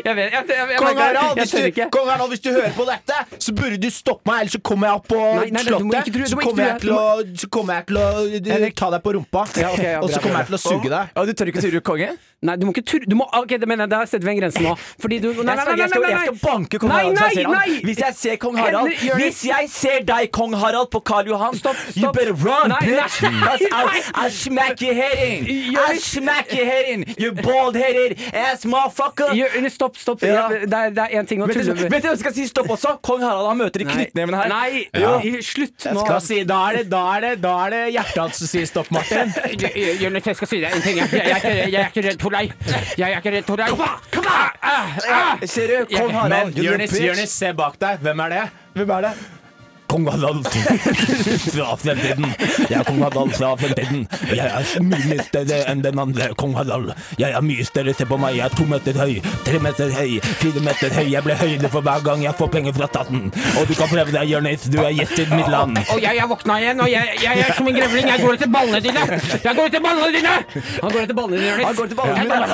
Speaker 3: jeg vet jeg, jeg, jeg, jeg,
Speaker 4: Kong
Speaker 3: merker- jeg
Speaker 4: Harald, hvis du,
Speaker 3: skjønner ikke.
Speaker 4: Kong Harald, hvis du hører på dette, så burde du stoppe meg, ellers så kommer jeg opp på
Speaker 3: Nei, nei, nei, du må ikke tro-
Speaker 4: slottet.
Speaker 3: du
Speaker 4: Så
Speaker 3: må ikke
Speaker 4: kommer jeg
Speaker 3: tro-
Speaker 4: til å, så kommer jeg til å eh, ta deg på rumpa,
Speaker 3: Ja, ok, ja,
Speaker 4: og
Speaker 3: bra,
Speaker 4: så kommer
Speaker 3: bra,
Speaker 4: jeg til å suge deg.
Speaker 5: Ja, du tør ikke ture konge?
Speaker 3: Nei, du må ikke tur... Du må, ok, det mener jeg, der setter vi en grense nå. Fordi du Nei, nei, nei!
Speaker 5: Jeg skal-
Speaker 3: nei,
Speaker 5: jeg skal-
Speaker 3: nei, nei.
Speaker 5: Jeg skal banke kong
Speaker 3: Nei,
Speaker 5: Harald hvis jeg
Speaker 3: nei,
Speaker 5: ser han.
Speaker 3: nei.
Speaker 5: Hvis jeg ser kong Harald
Speaker 3: Henrik, gjør det.
Speaker 5: Hvis jeg ser deg, kong Harald, på Karl Johan,
Speaker 3: Stopp,
Speaker 5: you
Speaker 3: stopp.
Speaker 5: better run,
Speaker 3: Nei,
Speaker 5: bitch!
Speaker 3: nei, nei.
Speaker 5: I'll, I'll smack your head in!
Speaker 3: Gjør
Speaker 5: I'll
Speaker 3: det.
Speaker 5: smack your head in, you bald-headed ass motherfucker!
Speaker 3: Gjør- nei, Stopp, stopp.
Speaker 5: Ja.
Speaker 3: Jeg- Det, er, det er en ting å
Speaker 5: Vet du
Speaker 3: tulle
Speaker 5: vet du hva jeg skal si stopp også? Kong Harald han møter i knyttneven her.
Speaker 3: Nei,
Speaker 5: Ja.
Speaker 3: i- slutt nå.
Speaker 4: Da, si, da, er det, da, er det, da er det hjertet hans som sier stopp, Martin.
Speaker 3: Jonis, jeg skal si deg en ting. Jeg, jeg, er ikke, jeg er ikke redd for deg. Jeg er ikke redd for deg. Kom
Speaker 5: Eh, Ser du, kong Harald
Speaker 4: Men
Speaker 5: you little
Speaker 4: Jonis,
Speaker 5: bitch.
Speaker 4: Jonis, se bak deg. Hvem er det?
Speaker 5: Hvem er det?
Speaker 6: kong Harald fra fremtiden. Jeg er kong Harald fra fremtiden. Jeg er mye mye større enn den andre kong Harald. Jeg er mye større, se på meg. Jeg er to meter høy, tre meter høy, fire meter høy. Jeg blir høyere for hver gang jeg får penger fra staten. Og du kan prøve deg, Jonis. Du er gjest i mitt land.
Speaker 7: Og jeg, jeg våkna igjen, og jeg, jeg, er som en grevling. Jeg går etter ballene dine! Jeg går etter ballene dine! Han går etter ballene dine, Jonis. Han går etter ballene dine.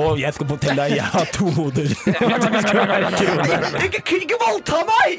Speaker 6: Og jeg skal fortelle deg, jeg har to hoder.
Speaker 5: Ikke, ikke voldta meg!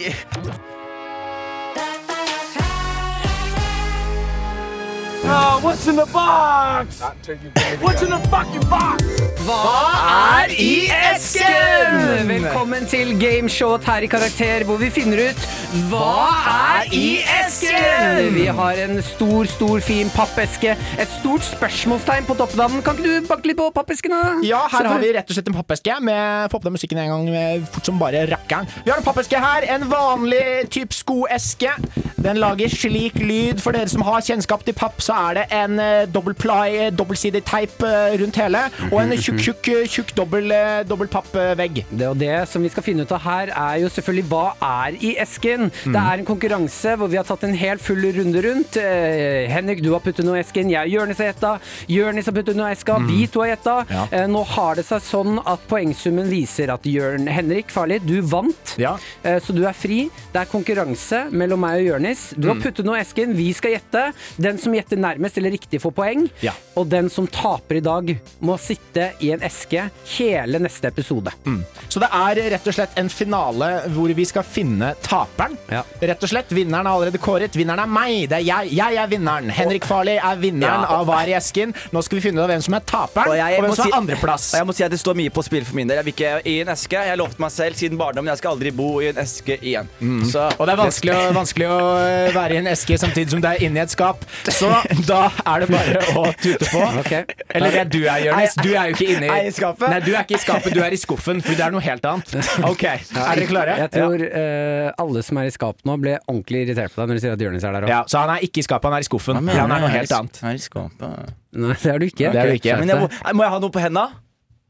Speaker 7: er i esken! Velkommen til gameshowet her i Karakter, hvor vi finner ut hva er i esken? Vi har en stor, stor, fin pappeske. Et stort spørsmålstegn på toppen av den. Kan ikke du banke litt på pappesken? da?
Speaker 4: Ja, her har
Speaker 7: Selvfølgelig.
Speaker 4: vi rett og slett en pappeske med Få på deg musikken en gang med fort som bare rakkeren. Vi har en pappeske her, en vanlig type skoeske. Den lager slik lyd. For dere som har kjennskap til papp, så er det en eh, dobbel ply, eh, dobbeltsidig teip eh, rundt hele, og en tjukk, tjukk, eh, tjukk dobbel, eh, dobbel pappvegg.
Speaker 3: Det og det som vi skal finne ut av her, er jo selvfølgelig hva er i esken. Det
Speaker 4: Mhm.
Speaker 3: er en konkurranse hvor vi har tatt en hel full runde rundt. Eh, Henrik, du har puttet noe i esken. Jeg og Jørnis har gjetta. Jørnis har puttet noe i eska. Vi
Speaker 4: Mhm.
Speaker 3: to har gjetta. Eh, nå har det seg sånn at poengsummen viser at Jørn Henrik Farli, du vant.
Speaker 4: Ja.
Speaker 3: Eh, så du er fri. Det er konkurranse mellom meg og Jørnis. Du
Speaker 4: Mhm.
Speaker 3: har puttet noe i esken. Vi skal gjette. Den som gjetter nærmest eller riktig, får poeng.
Speaker 4: Ja.
Speaker 3: Og den som taper i dag, må sitte i en eske hele neste episode.
Speaker 4: Så det er rett og slett en finale hvor vi skal finne taperen.
Speaker 3: Ja.
Speaker 4: Rett og slett, Vinneren er allerede kåret. Vinneren er meg. Det er jeg. Jeg er vinneren. Henrik Farley er vinneren
Speaker 5: Ja.
Speaker 4: av Hva er i esken. Nå skal vi finne ut av hvem som er taperen,
Speaker 5: Og
Speaker 4: og,
Speaker 5: jeg må
Speaker 4: hvem som
Speaker 5: si-
Speaker 4: er andreplass.
Speaker 5: Og jeg må si at Det står mye på spill for min del. Jeg vil ikke i en eske. Jeg lovte meg selv siden barndommen jeg skal aldri bo i en eske igjen. Så
Speaker 4: Mm. Og det er vanskelig å, vanskelig å eh, være i en eske samtidig som det er inni et skap. Så da er det bare å tute på.
Speaker 3: Ok.
Speaker 4: Eller det er du er, Jonis. Du er jo ikke inni
Speaker 5: Er i skapet?
Speaker 4: Nei, du er ikke i skapet, du er i skuffen, for det er noe helt annet. Ok, Er dere klare?
Speaker 3: Jeg tror eh, alle som er i skap nå, ble ordentlig irritert på deg når du sier at Jonis er der òg.
Speaker 4: Ja, Så han er ikke i skapet, han er i skuffen. Ja, han er noe helt annet.
Speaker 5: Her i skapet.
Speaker 3: Nei, det er du ikke.
Speaker 4: Det er du ikke.
Speaker 5: Men jeg må, må jeg ha noe på henda?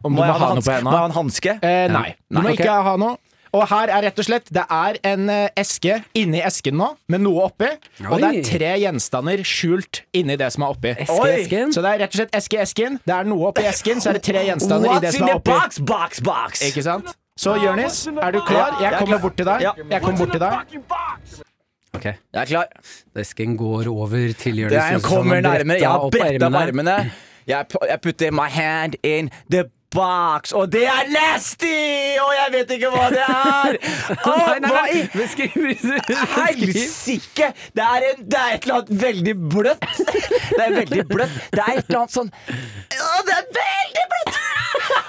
Speaker 4: Om du må ha noe på
Speaker 5: Må jeg
Speaker 4: hendene?
Speaker 5: ha en hanske?
Speaker 4: Eh, nei. Du må
Speaker 3: Nei, ok.
Speaker 4: ikke ha noe. Og her er rett og slett Det er en eh, eske inni esken nå, med noe oppi. Og det
Speaker 3: Oi.
Speaker 4: er tre gjenstander skjult inni det som er oppi.
Speaker 3: Eske,
Speaker 5: Oi!
Speaker 3: esken.
Speaker 4: Så det er rett og slett eske i esken. Det er noe oppi esken, så er det tre gjenstander i det
Speaker 5: What's in
Speaker 4: som
Speaker 5: the
Speaker 4: er oppi.
Speaker 5: box, box, box?
Speaker 4: Ikke sant? Så Jonis, er du klar? Jeg kommer bort til deg.
Speaker 5: Ja.
Speaker 4: Jeg kommer bort til deg.
Speaker 3: Ok,
Speaker 5: Jeg er klar.
Speaker 3: Esken går over til Jonis.
Speaker 5: Jeg
Speaker 3: Jonsson, han
Speaker 5: kommer
Speaker 3: bretter
Speaker 5: nærmere. Jeg har
Speaker 3: opp
Speaker 5: bretta opp
Speaker 3: ermene.
Speaker 5: armene. Jeg, pu- jeg putter my hand in the box, og det er nasty! Og jeg vet ikke hva det er! Å,
Speaker 3: Nei, nei,
Speaker 5: hva
Speaker 3: nei.
Speaker 5: i
Speaker 3: Beskriv, beskriv. beskriv.
Speaker 5: Helsike! Det, er en- det er et eller annet veldig bløtt. Det er veldig bløtt. Det er et eller annet sånn Å, det er veldig bløtt!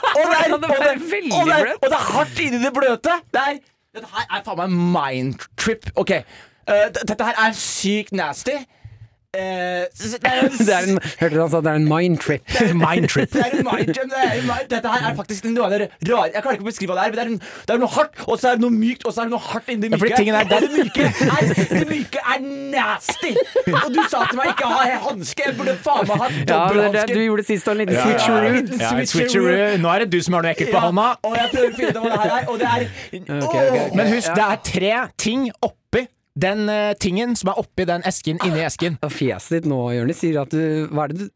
Speaker 5: Og det
Speaker 3: Hvordan
Speaker 5: er,
Speaker 3: kan det
Speaker 5: og
Speaker 3: være
Speaker 5: det,
Speaker 3: veldig
Speaker 5: og det, er,
Speaker 3: bløtt?
Speaker 5: og det er hardt inni det bløte. Det er, dette her er faen meg mind trip. Ok, eh, d- dette her er sykt nasty. Eh, s- det er en,
Speaker 3: Det er en, hørte du han sa det er en mind trip?
Speaker 4: Mind trip.
Speaker 5: det er en mind jam. Det er en mind, dette her er faktisk noe av det rare Jeg klarer ikke å beskrive hva det er, men det er, en, det er noe hardt, og så er det noe mykt, og så er det noe hardt inni det
Speaker 4: Ja,
Speaker 5: myke.
Speaker 4: fordi tingen er-
Speaker 5: Og det, myke er, det myke er nasty! Og du sa til meg ikke å ha hanske. Jeg burde faen meg
Speaker 3: Ja,
Speaker 5: ha
Speaker 3: det, er det,
Speaker 5: dobbelthanske.
Speaker 3: du gjorde sist, og en liten
Speaker 4: Ja, ja, ja.
Speaker 3: switcheroo.
Speaker 4: Ja, en switcheroo. Nå er det du som har noe ekkelt på hånda.
Speaker 5: og jeg prøver å finne ut hva det her er, og det er
Speaker 3: ok, ok.
Speaker 4: Men husk, det er tre ting oppi den eh, tingen som er oppi den esken inni esken.
Speaker 3: Og Fjeset ditt nå, Jonis, sier at du Hva er det du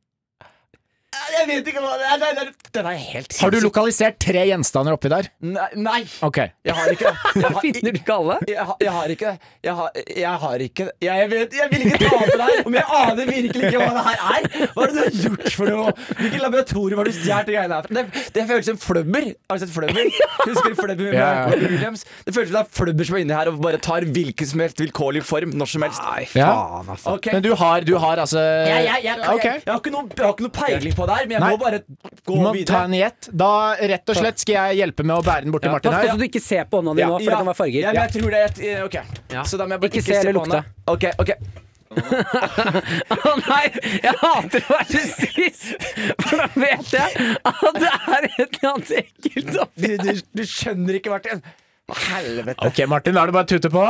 Speaker 5: Åh, Jeg vet ikke hva det er. Nei, det er, den er helt
Speaker 4: Har du
Speaker 5: sinnssyk.
Speaker 4: lokalisert tre gjenstander oppi der?
Speaker 5: Nei, nei,
Speaker 4: Ok.
Speaker 5: jeg har ikke det. Jeg har,
Speaker 3: Finner du ikke alle?
Speaker 5: jeg, har- jeg har ikke Jeg har, jeg har ikke jeg, jeg, vet, jeg vil ikke ta på deg, men jeg aner virkelig ikke hva det her er. Hva er det du har gjort for noe? Hvilket laboratorium har du stjålet de greiene her fra? Det, det føles som flømmer. Har du sett flømmer? Husker du flømmer med
Speaker 4: Ja, ja.
Speaker 5: Michael Williams? Det føles som det er flømmer som er inni her og bare tar hvilken som helst vilkårlig form når som helst.
Speaker 4: Ja.
Speaker 3: altså.
Speaker 5: Ok.
Speaker 4: Men du har, du har altså
Speaker 5: jeg, jeg, jeg, jeg,
Speaker 4: Ok.
Speaker 5: jeg, har ikke noe, jeg har ikke noe peiling på det her, men jeg
Speaker 4: Nei.
Speaker 5: må bare gå
Speaker 4: Du må ta
Speaker 5: videre.
Speaker 4: en gjett. Da rett og slett skal jeg hjelpe med å bære den bort til
Speaker 3: Pass på
Speaker 4: Martin her.
Speaker 3: så du ikke ser på hånda di
Speaker 5: Ja,
Speaker 3: nå, for det
Speaker 5: ja.
Speaker 3: kan være farger.
Speaker 5: Ja, men jeg tror det er et- eh, Ok.
Speaker 3: Ja.
Speaker 5: Så da må jeg bare
Speaker 3: Ikke se eller
Speaker 5: på hånda.
Speaker 3: lukte.
Speaker 5: Ok, ok.
Speaker 3: Å nei, jeg hater å være sist, for da vet jeg at det er et eller annet ekkelt oppi
Speaker 5: Du, du, du skjønner ikke, Martin. Hva helvete.
Speaker 4: Ok, Martin, da er det bare å tute på.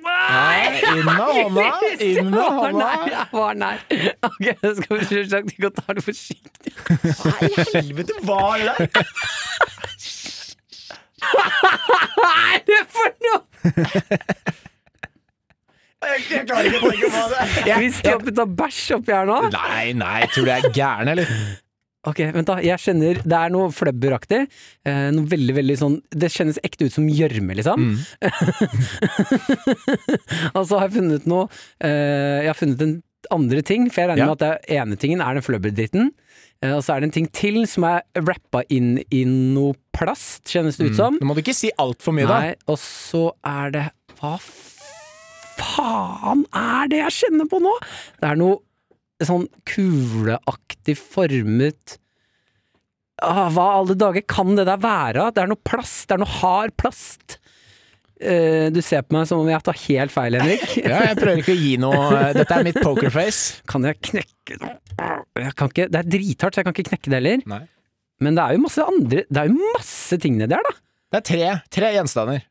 Speaker 4: Nei, inn med hånda. Inn med
Speaker 3: Var nær,
Speaker 4: hånda.
Speaker 3: jeg var nær. Ok, det skal vi selvsagt ikke ta det forsiktig.
Speaker 5: Hva i helvete var det?
Speaker 3: er det for noe?!
Speaker 4: Jeg klarer ikke å tenke på det.
Speaker 3: Vi skrapet av bæsj oppi her nå.
Speaker 4: Nei, nei, tror du jeg er gæren, eller?
Speaker 3: Ok, vent da, jeg kjenner Det er noe fløbberaktig. Eh, noe veldig, veldig sånn Det kjennes ekte ut som gjørme, liksom. altså, har jeg funnet noe eh, Jeg har funnet en andre ting, for jeg regner
Speaker 4: Ja.
Speaker 3: med at den ene tingen er den fløbberdritten. Eh, og så er det en ting til som er rappa inn i noe plast, kjennes det ut som.
Speaker 4: Nå må du ikke si altfor mye, da.
Speaker 3: Nei, og så er det Hva faen er det jeg kjenner på nå?! Det er noe sånn kuleaktig formet ah, Hva alle dager kan det der være? Det er noe plast, det er noe hard plast. Eh, du ser på meg som om jeg tar helt feil, Henrik.
Speaker 4: Ja, jeg prøver ikke å gi noe Dette er mitt pokerface.
Speaker 3: Kan jeg knekke det? Jeg kan ikke, det er drithardt, så jeg kan ikke knekke det heller.
Speaker 4: Nei.
Speaker 3: Men det er jo masse andre Det er jo masse ting nedi her, da.
Speaker 4: Det er tre, tre gjenstander.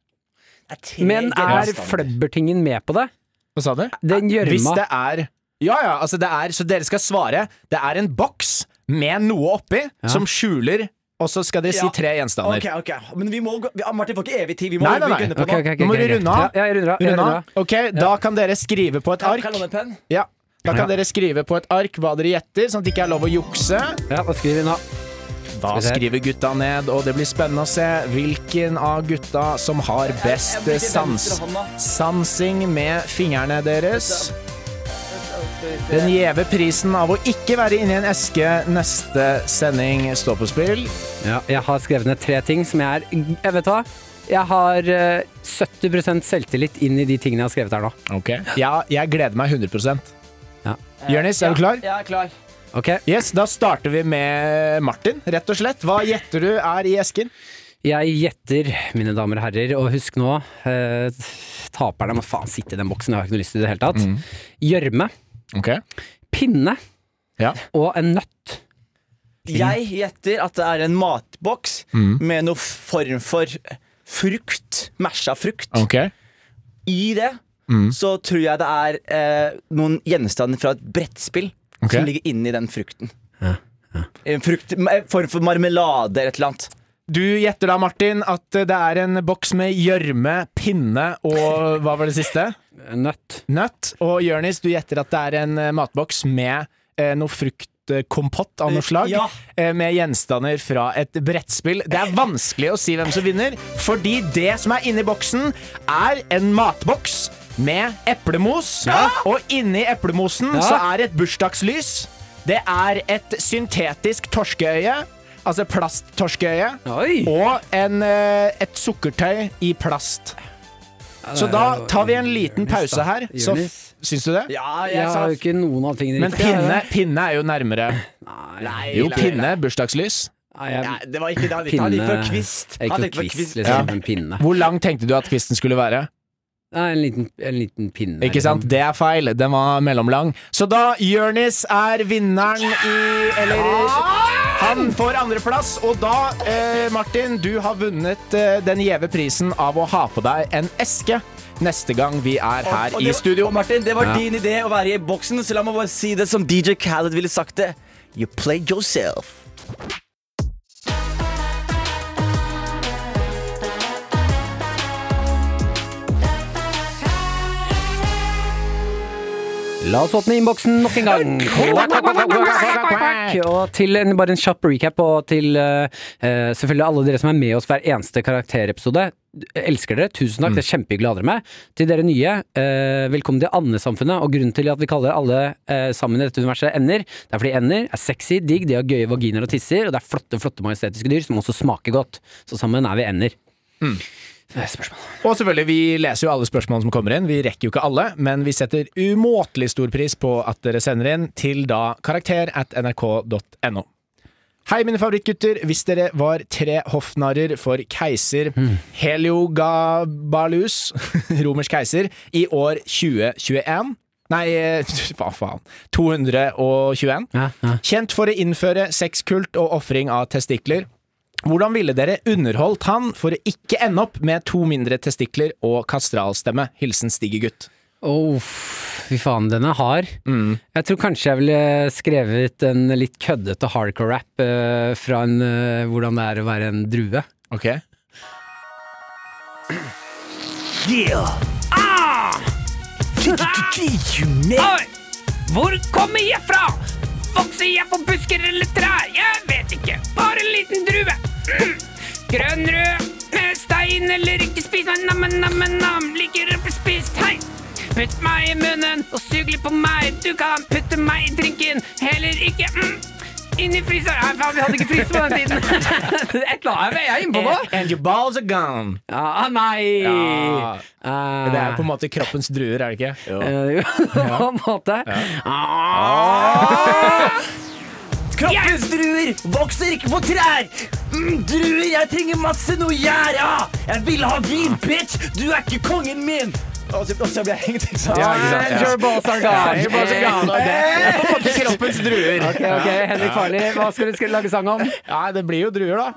Speaker 3: Men er
Speaker 4: gjenstander.
Speaker 3: fløbbertingen med på det?
Speaker 4: Hva sa du?
Speaker 3: Den
Speaker 4: Hvis
Speaker 3: gjørma
Speaker 4: det er Ja ja, altså det er Så dere skal svare. Det er en boks med noe oppi som skjuler, og så skal dere si
Speaker 8: Ja.
Speaker 4: tre gjenstander.
Speaker 8: Ok, ok, men vi må gå vi- Martin får ikke evig tid. Vi må
Speaker 4: Nei, nei, nei.
Speaker 8: begynne på
Speaker 3: Ok, ok,
Speaker 8: nå.
Speaker 3: ok,
Speaker 4: Nå må
Speaker 3: ok,
Speaker 4: du
Speaker 3: ok.
Speaker 4: runde av.
Speaker 3: Ja, jeg runder av. Jeg
Speaker 4: Runde
Speaker 3: runder
Speaker 4: av.
Speaker 3: av.
Speaker 4: Ok, da kan dere skrive på et
Speaker 8: Kan
Speaker 4: ark.
Speaker 8: jeg låne en penn?
Speaker 4: Ja, da kan dere skrive på et ark hva dere gjetter, sånn at det ikke er lov å jukse.
Speaker 3: Ja, hva skriver vi nå?
Speaker 4: Da
Speaker 3: Skal vi se.
Speaker 4: skriver gutta ned, og det blir spennende å se hvilken av gutta som har best
Speaker 8: Jeg- jeg blir
Speaker 4: sans.
Speaker 8: venstre hånda.
Speaker 4: Sansing med fingrene deres. Den gjeve prisen av å ikke være inni en eske neste sending står på spill.
Speaker 3: Ja, jeg har skrevet ned tre ting som jeg er Jeg vet hva. Jeg har eh, 70 selvtillit inn i de tingene jeg har skrevet her nå.
Speaker 4: Ja, jeg gleder meg 100
Speaker 3: Ja.
Speaker 4: Jonis, er du klar?
Speaker 8: Jeg er klar.
Speaker 3: Ok,
Speaker 4: Yes, Da starter vi med Martin, rett og slett. Hva gjetter du er i esken?
Speaker 3: Jeg gjetter, mine damer og herrer, og husk nå eh, Taperne må faen sitte i den boksen, jeg har ikke noe lyst til det i det hele
Speaker 4: Mm.
Speaker 3: tatt. Gjørme,
Speaker 4: Ok
Speaker 3: pinne
Speaker 4: Ja.
Speaker 3: og en nøtt.
Speaker 8: Jeg gjetter at det er en matboks
Speaker 3: Mm.
Speaker 8: med noe form for frukt. Masha frukt. I det
Speaker 3: Mm.
Speaker 8: så tror jeg det er eh, noen gjenstander fra et brettspill
Speaker 4: Ok.
Speaker 8: som ligger inni den frukten. En frukt, en form for marmelade eller et eller annet.
Speaker 4: Du gjetter da, Martin, at det er en boks med gjørme, pinne og hva var det siste?
Speaker 3: Nøtt.
Speaker 4: Nøtt. Og Jørnis, du gjetter at det er en eh, matboks med eh, noe fruktkompott av noe slag.
Speaker 8: Ja.
Speaker 4: eh, Med gjenstander fra et brettspill. Det er vanskelig å si hvem som vinner, fordi det som er inni boksen, er en matboks med eplemos. Og inni eplemosen
Speaker 3: Ja.
Speaker 4: så er et bursdagslys. Det er et syntetisk torskeøye. Altså plasttorskeøye.
Speaker 3: Oi!
Speaker 4: Og en, eh, et sukkertøy i plast. Så da tar vi en liten pause her. Så
Speaker 3: Jonis.
Speaker 4: syns du det?
Speaker 8: Ja,
Speaker 3: Jeg har jo ikke noen av tingene
Speaker 4: Men
Speaker 3: riktig, jeg.
Speaker 4: pinne, pinne er jo nærmere.
Speaker 3: Nei,
Speaker 4: Jo, pinne. Bursdagslys.
Speaker 3: Nei, jeg,
Speaker 8: Nei, det var ikke det han likte. Han likte
Speaker 3: Pinne-
Speaker 8: på kvist.
Speaker 3: jeg er
Speaker 8: Han
Speaker 3: ikke
Speaker 8: likte på
Speaker 3: noe kvist,
Speaker 8: kvist.
Speaker 3: liksom. En pinne.
Speaker 4: Hvor lang tenkte du at kvisten skulle være?
Speaker 3: Nei, en liten, en liten pinne. liksom.
Speaker 4: Ikke sant? Det er feil. Den var mellomlang. Så da Jørnis er vinneren i Eller han får andreplass, og da, eh, Martin, du har vunnet eh, den gjeve prisen av å ha på deg en eske neste gang vi er her
Speaker 8: Og
Speaker 4: i
Speaker 8: det-
Speaker 4: studio.
Speaker 8: Og Martin, det var
Speaker 3: Ja.
Speaker 8: din idé å være i boksen, så la meg bare si det som DJ Khaled ville sagt det. You played yourself.
Speaker 3: La oss åpne innboksen nok en gang. Og til en, bare en kjapp recap, og til eh, eh, selvfølgelig alle dere som er med oss hver eneste karakterepisode. Elsker dere, tusen takk, det er kjempehyggelig å ha dere med. Til dere nye, eh, velkommen til Andesamfunnet. Og grunnen til at vi kaller alle eh, sammen i dette universet ender, det er fordi ender er sexy, digg, de har gøye vaginaer og tisser, og det er flotte, flotte majestetiske dyr som også smaker godt. Så sammen er vi ender. Eh, Spørsmål.
Speaker 4: Og selvfølgelig, vi leser jo alle spørsmålene som kommer inn. Vi rekker jo ikke alle, men vi setter umåtelig stor pris på at dere sender inn til da karakter at nrk.no. Hei, mine favorittgutter. Hvis dere var tre hoffnarrer for keiser
Speaker 3: Hmm.
Speaker 4: Heliogabalus, romersk keiser, i år 2021 Nei, hva faen. 221.
Speaker 3: Ja, ja.
Speaker 4: Kjent for å innføre sexkult og ofring av testikler. Hvordan ville dere underholdt han for å ikke ende opp med to mindre testikler og kastralstemme? Hilsen Stigegutt.
Speaker 3: Åh, fy faen, den er hard. Jeg tror kanskje jeg ville skrevet en litt køddete hardcore-rap eh, fra en, eh, hvordan det er å være en drue.
Speaker 4: Ok. Ah!
Speaker 3: Oi! Hvor kommer jeg fra? Vokser jeg på busker eller trær? Jeg vet ikke. Bare en liten drue. Mm. Grønn, rød, med stein eller ikke spis meg. Nam, nam, nam. Liker å bli spist. Hei! Putt meg i munnen og sug litt på meg. Du kan putte meg i drinken. Heller ikke mm. Inn i fryseren. Nei, faen, vi hadde ikke fryser på den tiden. Et eller annet jeg er inne på nå.
Speaker 4: And your balls are gone.
Speaker 3: Ah, nei!
Speaker 4: Ja.
Speaker 3: Ah.
Speaker 4: Det er på en måte kroppens druer, er det ikke?
Speaker 3: Eh, Jo, på en måte.
Speaker 8: Kroppens druer vokser ikke på trær. Mm, druer, jeg trenger masse noe gjær. Ah, jeg vil ha vin, bitch. Du er ikke kongen min. Og så, og så ble jeg hengt ut. Ah,
Speaker 4: Ja, ikke sant?
Speaker 3: And your balls are gone.
Speaker 4: And your balls are gone. Og det det er på en måte kroppens druer.
Speaker 3: Ok, ok, Henrik Farley, hva skal du skulle lage sang om?
Speaker 4: Ja, det blir jo druer, da.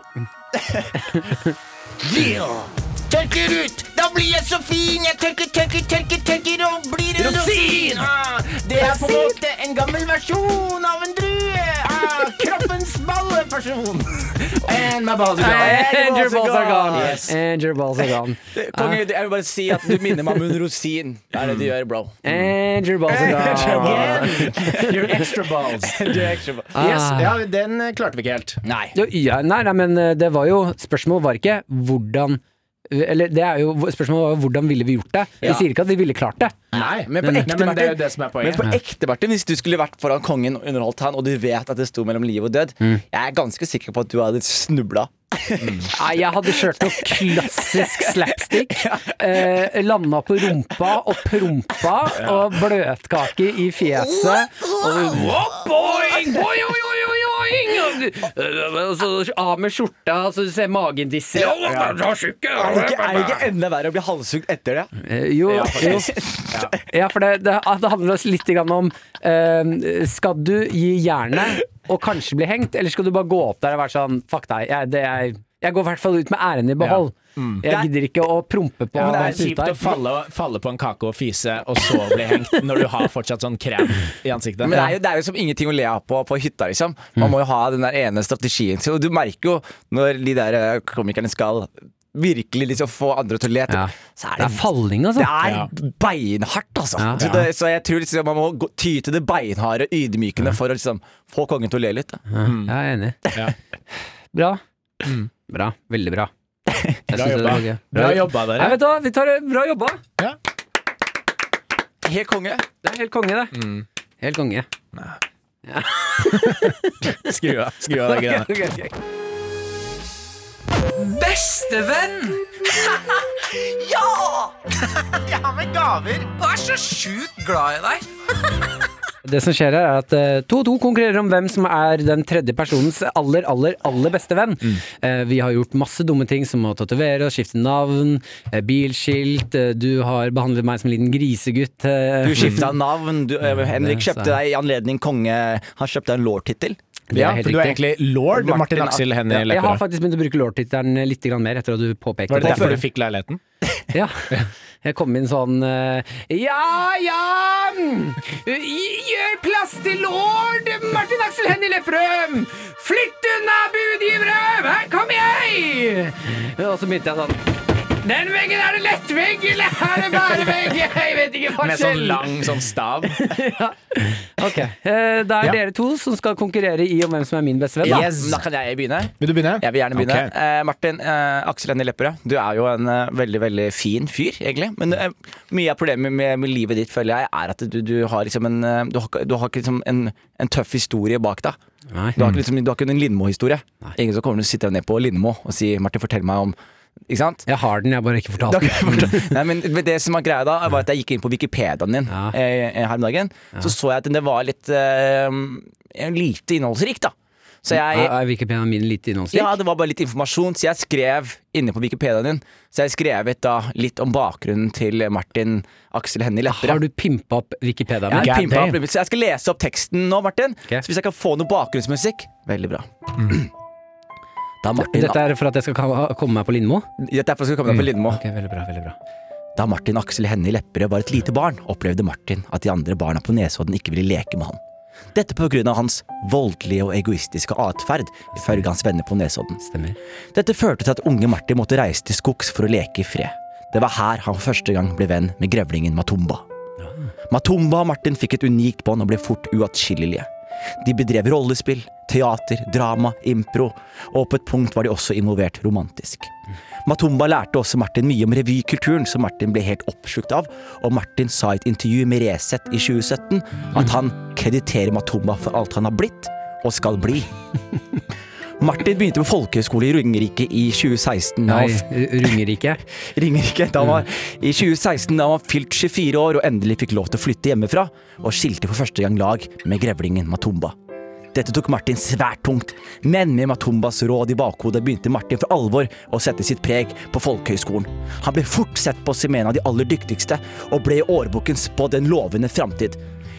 Speaker 9: Tørker ut, da blir jeg så fin. Jeg tørker, tørker, tørker, tørker og blir en rosin. Ah, det er på en måte en gammel versjon av en drue. Ah, kroppens balleperson.
Speaker 4: And my balls are
Speaker 3: And your balls are gone.
Speaker 8: Yes.
Speaker 3: And your balls are gone.
Speaker 8: Eh, Konge, jeg vil bare si at du minner meg om en rosin. Det er det du gjør, bro.
Speaker 3: And your
Speaker 4: Eh,
Speaker 3: balls are gone.
Speaker 4: Your extra balls.
Speaker 8: Du er ekstra bra.
Speaker 4: Yes,
Speaker 3: Ah.
Speaker 4: ja, den eh, klarte vi ikke helt.
Speaker 8: Nei.
Speaker 3: Jo, Ja, nei, nei, men eh, det var jo Spørsmålet var ikke hvordan Eller det er jo Spørsmålet var jo hvordan ville vi gjort det? Vi
Speaker 8: Ja.
Speaker 3: sier ikke at vi ville klart det.
Speaker 4: Nei, men,
Speaker 8: på ekte,
Speaker 4: men det er
Speaker 8: Martin.
Speaker 4: jo det som er
Speaker 8: Men
Speaker 4: poenget.
Speaker 8: på ekte, Martin, hvis du skulle vært foran kongen og underholdt han, og du vet at det sto mellom liv og død, jeg er ganske sikker på at du hadde snubla.
Speaker 3: Nei, jeg hadde kjørt noe klassisk slapstick. Eh, landa på rumpa og prompa og bløtkake i fjeset. Og Wow, boing, boing, boing, boing, boing. Og du- eh, og så av med skjorta, så du ser magen disse. Ja, da, da, tjukke,
Speaker 8: Er det
Speaker 3: ja,
Speaker 8: ikke, er det ikke enda verre å bli halshugd etter det?
Speaker 3: Eh, Jo, jo. Ja, for det, det, det handler også litt grann om eh, Skal du gi jernet og kanskje bli hengt, eller skal du bare gå opp der og være sånn Fuck deg, jeg, det, jeg, jeg går i hvert fall ut med æren i behold.
Speaker 4: Mm.
Speaker 3: Jeg gidder ikke å prompe på
Speaker 4: Men det
Speaker 3: den
Speaker 4: er kjipt
Speaker 3: puta
Speaker 4: å
Speaker 3: her.
Speaker 4: falle, falle på en kake og fise, og så bli hengt, når du har fortsatt sånn krem i ansiktet.
Speaker 5: Men det er, jo, det er jo som ingenting å le av på, på hytta, liksom. Man
Speaker 3: Mm.
Speaker 5: må jo ha den der ene strategien sin. Og du merker jo når de der eh, komikerne skal virkelig liksom få andre til å le,
Speaker 3: Ja. Det
Speaker 5: så er
Speaker 3: er
Speaker 5: det
Speaker 3: falling, altså.
Speaker 5: det er beinhardt, altså.
Speaker 3: Ja.
Speaker 5: Så, det, så jeg tror liksom man må gå, ty til det beinharde, ydmykende for å liksom få kongen til å le litt. Da.
Speaker 3: Mm. Ja, jeg er enig.
Speaker 4: Ja. Mm.
Speaker 3: Bra. Bra. Veldig bra. Jeg
Speaker 4: Bra
Speaker 3: synes det
Speaker 4: jobba.
Speaker 3: var gøy.
Speaker 4: Bra jobba, dere.
Speaker 3: Nei, vet du hva, vi tar bra jobba.
Speaker 5: Helt konge.
Speaker 3: Det er helt konge, det.
Speaker 4: Mm.
Speaker 3: Helt konge.
Speaker 4: Skru av, skru av det greiene.
Speaker 10: Bestevenn!
Speaker 3: Det som skjer her er at eh, 2-2 konkurrerer om hvem som er den tredje personens aller, aller, aller beste venn.
Speaker 4: Mm.
Speaker 3: Eh, vi har gjort masse dumme ting som å tatovere og skifte navn, eh, bilskilt, eh, du har behandlet meg som en liten grisegutt. eh,
Speaker 5: Du skifta navn. Du, eh, Henrik
Speaker 3: Mm, Det er
Speaker 5: kjøpte deg i anledning konge Han kjøpte deg en lord-tittel.
Speaker 3: det er
Speaker 4: Ja,
Speaker 3: helt
Speaker 4: for du er
Speaker 3: riktig.
Speaker 4: egentlig lord Martin,
Speaker 5: Martin
Speaker 4: Aksel Hennie
Speaker 3: Jeg har
Speaker 4: Lepperød.
Speaker 3: faktisk begynt å bruke lord-tittelen litt grann mer etter at du påpekte
Speaker 4: Var det
Speaker 3: det.
Speaker 4: derfor du fikk leiligheten?
Speaker 3: Ja. Jeg kom inn sånn eh, Ja, ja! mm, Gjør plass til lord Martin Aksel Hennie Lepperød! Flytt unna, budgivere! Her kommer jeg! Og så begynte jeg sånn Den veggen er det lettvegg, eller er det bærevegg? Jeg vet ikke
Speaker 4: Med sånn
Speaker 3: forskjell.
Speaker 4: lang sånn stav.
Speaker 3: Ok, eh, Da er
Speaker 4: Ja.
Speaker 3: dere to som skal konkurrere i om hvem som er min beste venn. Da.
Speaker 5: Da kan jeg begynne.
Speaker 4: Vil du begynne?
Speaker 5: Jeg vil gjerne begynne.
Speaker 4: Ok.
Speaker 5: Eh, Martin eh, Aksel Hennie Lepperød, du er jo en eh, veldig veldig fin fyr, egentlig. Men eh, mye av problemet med, med livet ditt, føler jeg, er at du, du har liksom en eh, Du har, ikke- du har ikke liksom en, en tøff historie bak deg.
Speaker 3: Nei.
Speaker 5: Du har ikke liksom, du har ikke en Lindmo-historie. Ingen som kommer til å sitte ned på Lindmo og si 'Martin, fortell meg om' Ikke sant?
Speaker 3: Jeg har den, jeg har bare ikke
Speaker 5: Da-
Speaker 3: fortalt den.
Speaker 5: Nei, men men det som var greia da, var at jeg gikk inn på Wikipediaen din
Speaker 3: Ja.
Speaker 5: eh, her om dagen. Så så jeg at det var litt eh, lite innholdsrikt, da. Så jeg
Speaker 3: Er er Wikipedia min lite innholdsrik?
Speaker 5: ja, det var bare litt informasjon, så jeg skrev inne på Wikipediaen din. Så jeg skrevet da litt om bakgrunnen til Martin Aksel Hennie
Speaker 3: har
Speaker 5: Lepperød.
Speaker 3: du pimpa opp Wikipedia min?
Speaker 5: Jeg har
Speaker 4: God
Speaker 5: pimpa
Speaker 4: damn.
Speaker 5: opp litt, Så jeg skal lese opp teksten nå, Martin.
Speaker 3: Ok. Mm.
Speaker 5: Så hvis jeg kan få noe bakgrunnsmusikk Veldig bra. Da Martin
Speaker 3: Dette er Mm. for at jeg skal ka- komme meg på Lindmo?
Speaker 5: Dette er for å komme deg på Lindmo.
Speaker 3: Ok, veldig bra, veldig bra.
Speaker 5: Da Martin Aksel Hennie Lepperød var et lite barn, opplevde Martin at de andre barna på Nesodden ikke ville leke med han. Dette på grunn av hans voldelige og egoistiske atferd, ifølge hans venner på Nesodden.
Speaker 3: Stemmer.
Speaker 5: Dette førte til at unge Martin måtte reise til skogs for å leke i fred. Det var her han for første gang ble venn med grevlingen Matumba. Matumba og Martin fikk et unikt bånd og ble fort uatskillelige. De bedrev rollespill, teater, drama, impro, og på et punkt var de også involvert romantisk. Matumba lærte også Martin mye om revykulturen, som Martin ble helt oppslukt av, og Martin sa i et intervju med Resett i 2017 at han krediterer Matumba for alt han har blitt, og skal bli. Martin begynte på folkehøyskole i Ringerike i 2016.
Speaker 3: Nei,
Speaker 5: og
Speaker 3: R- Ringerike.
Speaker 5: Ringerike da han var i 2016 da han var fylt 24 år og endelig fikk lov til å flytte hjemmefra, og skilte for første gang lag med grevlingen Matumba. Dette tok Martin svært tungt, men med Matumbas råd i bakhodet begynte Martin for alvor å sette sitt preg på folkehøyskolen. Han ble fort sett på som en av de aller dyktigste, og ble i årboken spådd en lovende framtid.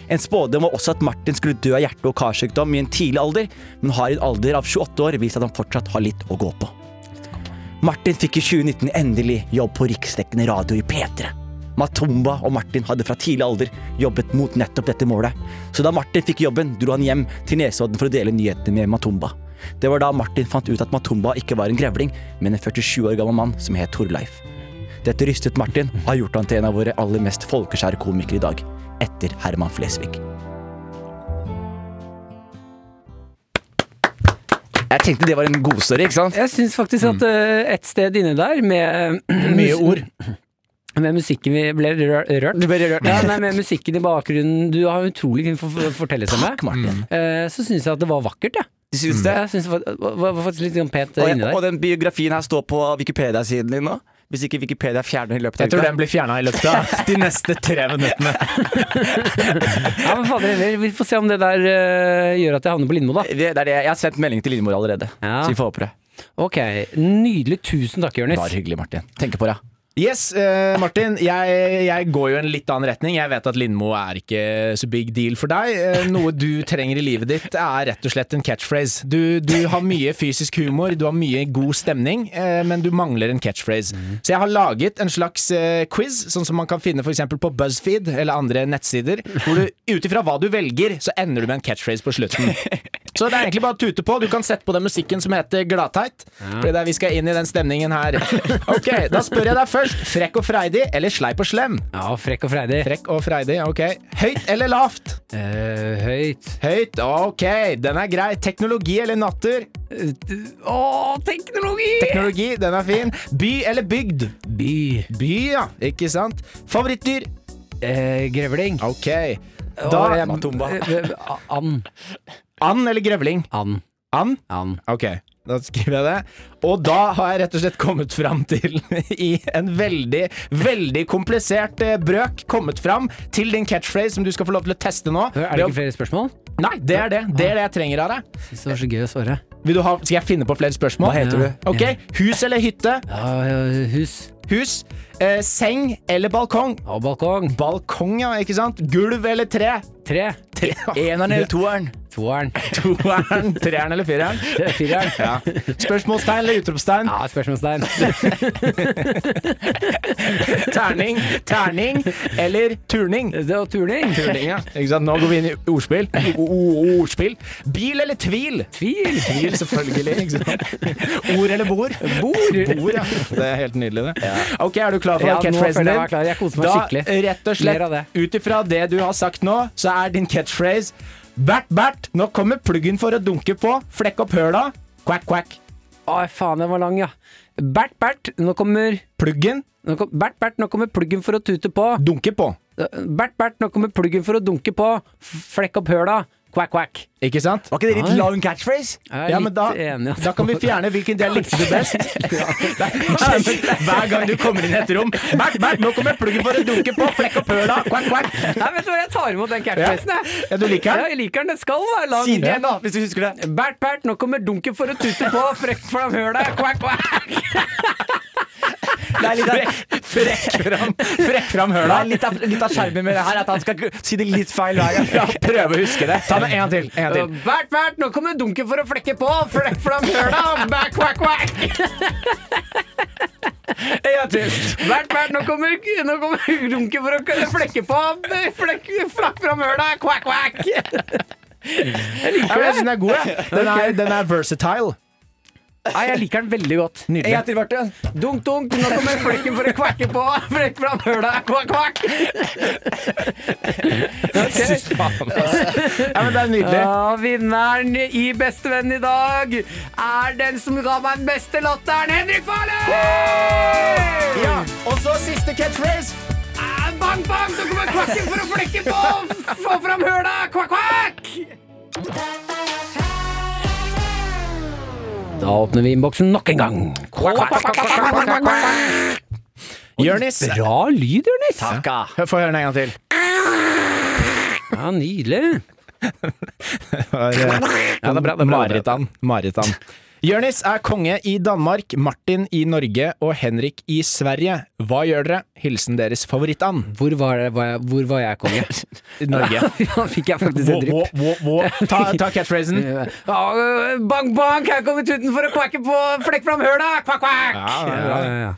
Speaker 5: En spådom var også at Martin skulle dø av hjerte- og karsykdom i en tidlig alder, men har i en alder av 28 år vist at han fortsatt har litt å gå på. Martin fikk i 2019 endelig jobb på riksdekkende radio i P3. Matumba og Martin hadde fra tidlig alder jobbet mot nettopp dette målet, så da Martin fikk jobben, dro han hjem til Nesodden for å dele nyhetene med Matumba. Det var da Martin fant ut at Matumba ikke var en grevling, men en 47 år gammel mann som het Torleif. Dette rystet Martin og har gjort han til en av våre aller mest folkeskjære komikere i dag, etter Herman Flesvig. Jeg tenkte det var en god story, ikke sant?
Speaker 3: Jeg syns faktisk at eh, et sted inne der, med eh,
Speaker 4: Mye ord.
Speaker 3: Med musikken vi ble rør- rørt.
Speaker 5: Du ble rørt.
Speaker 3: Ja, nei, med musikken i bakgrunnen Du har utrolig fin for for- fortellerstemme.
Speaker 5: Takk, Martin.
Speaker 3: Eh, Så syns jeg at det var vakkert, jeg.
Speaker 5: Du syns det?
Speaker 3: Jeg synes det var, var, var faktisk litt sånn pent
Speaker 5: Og,
Speaker 3: inni der.
Speaker 5: og den biografien her står på Wikipedia-siden din nå. Hvis ikke Wikipedia fjerner den i løpet av
Speaker 4: Jeg tror
Speaker 5: uka.
Speaker 4: den blir fjerna i løpet av de neste tre minuttene.
Speaker 3: Ja, men fader heller, vi får se om det der eh, gjør at jeg havner på Lindmo, da.
Speaker 5: Det, det er det. Jeg har sendt melding til Lindmor allerede.
Speaker 3: Ja.
Speaker 5: Så vi får håpe det.
Speaker 3: Ok, nydelig. Tusen takk, Jonis.
Speaker 5: Bare hyggelig, Martin. Tenker på det.
Speaker 4: Yes, eh, Martin. Jeg, jeg går jo en litt annen retning. Jeg vet at Lindmo er ikke så big deal for deg. Eh, Noe du trenger i livet ditt, er rett og slett en catchphrase. Du, du har mye fysisk humor, du har mye god stemning, eh, men du mangler en catchphrase. Så jeg har laget en slags eh, quiz, sånn som man kan finne f.eks. på BuzzFeed eller andre nettsider, hvor du ut ifra hva du velger, så ender du med en catchphrase på slutten. Så det er egentlig bare å tute på. Du kan sette på den musikken som heter Gladteit. For det er vi skal inn i den stemningen her. Ok, Da spør jeg deg først. Frekk og freidig eller sleip og slem?
Speaker 3: Ja, frekk og freidig.
Speaker 4: Frekk og freidig, ok. Høyt eller lavt?
Speaker 3: Eh, høyt.
Speaker 4: Høyt, ok. Den er grei. Teknologi eller natter?
Speaker 3: Å, teknologi!
Speaker 4: Teknologi, den er fin. By eller bygd?
Speaker 3: By.
Speaker 4: By, ja. Ikke sant? Favorittdyr?
Speaker 3: Eh, grevling.
Speaker 4: Ok.
Speaker 3: Og, eh,
Speaker 4: Da
Speaker 5: Matumba.
Speaker 3: eh, eh, And.
Speaker 4: And eller grevling?
Speaker 3: And.
Speaker 4: And?
Speaker 3: And.
Speaker 4: Ok, da skriver jeg det. Og da har jeg rett og slett kommet fram til, i en veldig, veldig komplisert eh, brøk, kommet fram til din catchphrase som du skal få lov til å teste nå.
Speaker 3: Er det ikke flere spørsmål?
Speaker 4: Nei, det er det. Det er det jeg trenger av deg.
Speaker 3: Synes det var så gøy å svare.
Speaker 4: Vil du ha, skal jeg finne på flere spørsmål?
Speaker 5: Hva heter du?
Speaker 4: Ok, Hus eller hytte?
Speaker 3: Ja, ja, hus
Speaker 4: Hus. Eh, seng eller balkong?
Speaker 3: og balkong.
Speaker 4: Balkong, ja, ikke sant? Gulv eller tre?
Speaker 3: Tre.
Speaker 4: Tre.
Speaker 5: Eneren eller toeren?
Speaker 3: Toeren.
Speaker 4: Toeren, treeren eller fireren?
Speaker 3: Fireren.
Speaker 4: Ja. Spørsmålstegn eller utropstegn?
Speaker 3: Ja, spørsmålstegn.
Speaker 4: Terning, terning eller turning?
Speaker 3: Det var turning.
Speaker 4: Turning, ja. Ikke sant? Nå går vi inn i ordspill. O -o ordspill. Bil eller tvil?
Speaker 3: Tvil.
Speaker 4: Tvil, selvfølgelig. Ikke sant? Ord eller bord? Bord, ja. Det er helt nydelig, det. Ok, Er du klar for
Speaker 3: Ja, nå
Speaker 4: catchphrasen
Speaker 3: føler jeg
Speaker 4: din?
Speaker 3: meg klar. Jeg koser meg
Speaker 4: da,
Speaker 3: skikkelig.
Speaker 4: Rett og
Speaker 3: Mer av det.
Speaker 4: slett, ut ifra det du har sagt nå, så er din catchphrase Bert, Bert, nå kommer pluggen for å dunke på. Flekk opp høla. Quack, quack.
Speaker 3: Å, faen, den var lang, ja. Bert, Bert, nå kommer
Speaker 4: Pluggen
Speaker 3: nå kom, Bert, Bert, nå kommer pluggen for å tute på.
Speaker 4: dunker på.
Speaker 3: Bert, Bert, nå kommer pluggen for å dunke på. Flekk opp høla. Quack, quack.
Speaker 4: Ikke sant?
Speaker 5: Var ikke det
Speaker 3: Nei.
Speaker 5: litt lang catchphrase?
Speaker 3: Jeg er
Speaker 4: Ja,
Speaker 3: litt
Speaker 4: men da,
Speaker 3: enig. at-
Speaker 4: da kan vi fjerne hvilken del likte du best. Nei, men Hver gang du kommer inn i et rom Bert, Bert, nå kommer pluggen for å dunke på! Flekk opp høla! Quack, quack!
Speaker 3: Nei, vet du hva, jeg tar imot den catchphrasen, jeg.
Speaker 4: Ja, du liker
Speaker 3: Ja,
Speaker 4: den?
Speaker 3: jeg liker den. Den skal være lang.
Speaker 5: Si det igjen, da, hvis du husker det.
Speaker 3: Bert, Bert, nå kommer dunken for å tute på. Frekk fram høla. Quack, quack.
Speaker 5: Det er litt av,
Speaker 4: Frekk fram, frekk fram
Speaker 5: det
Speaker 4: høla!
Speaker 5: er litt av, litt av skjermen med det her, at han skal si det litt feil hver gang.
Speaker 4: Ja, prøv å huske det. Ta med en gang til. En gang til.
Speaker 3: Bert, Bert, nå kommer dunken for å flekke på. Flekk fram høla. Back, quack, quack.
Speaker 4: En gang til.
Speaker 3: Bert, Bert, nå kommer, nå kommer dunken for å k- flekke på. Flekk, flakk fram høla. Quack, quack. Jeg
Speaker 4: Ja, men jeg synes den er god, jeg. Den er, den er versatile.
Speaker 3: Nei, jeg liker den veldig godt.
Speaker 4: Nydelig.
Speaker 5: til hvert igjen.
Speaker 3: Dunk, dunk, nå kommer flekken for å kvakke på. Flekk fram høla, kvakk, kvakk.
Speaker 4: Ja, men det er nydelig.
Speaker 3: Ja, vinneren i Bestevenn i dag er den som ga meg den beste latteren, Henrik Farley!
Speaker 4: Ja, og så siste catchphrase.
Speaker 3: Ah, Bang, bang, så kommer kvakken for å flekke på! Få fram høla! Kvakk, kvakk! Da åpner vi innboksen nok en gang. Kvakk, kvakk, kvakk, kvakk, kvakk, kvakk, kvakk, kvakk.
Speaker 4: Jonis.
Speaker 3: Bra lyd, Jonis.
Speaker 4: Hør- Få høre den en gang til.
Speaker 3: Ja, nydelig.
Speaker 4: Ja, det er bra. Maritan. Maritan. Jonis er konge i Danmark, Martin i Norge og Henrik i Sverige. Hva gjør dere? Hilsen deres favorittand.
Speaker 3: Hvor var, det, var jeg, hvor var jeg konge?
Speaker 4: Norge.
Speaker 3: Da fikk jeg faktisk en
Speaker 4: Vå, vå,
Speaker 3: drypp.
Speaker 4: vå, vå. Ta, ta catchphrasen.
Speaker 3: Ja, øh, Bang, bang, her kommer tuten for å kvakke på flekk fram høla! Kvakk, kvakk!
Speaker 4: Ja, ja, ja.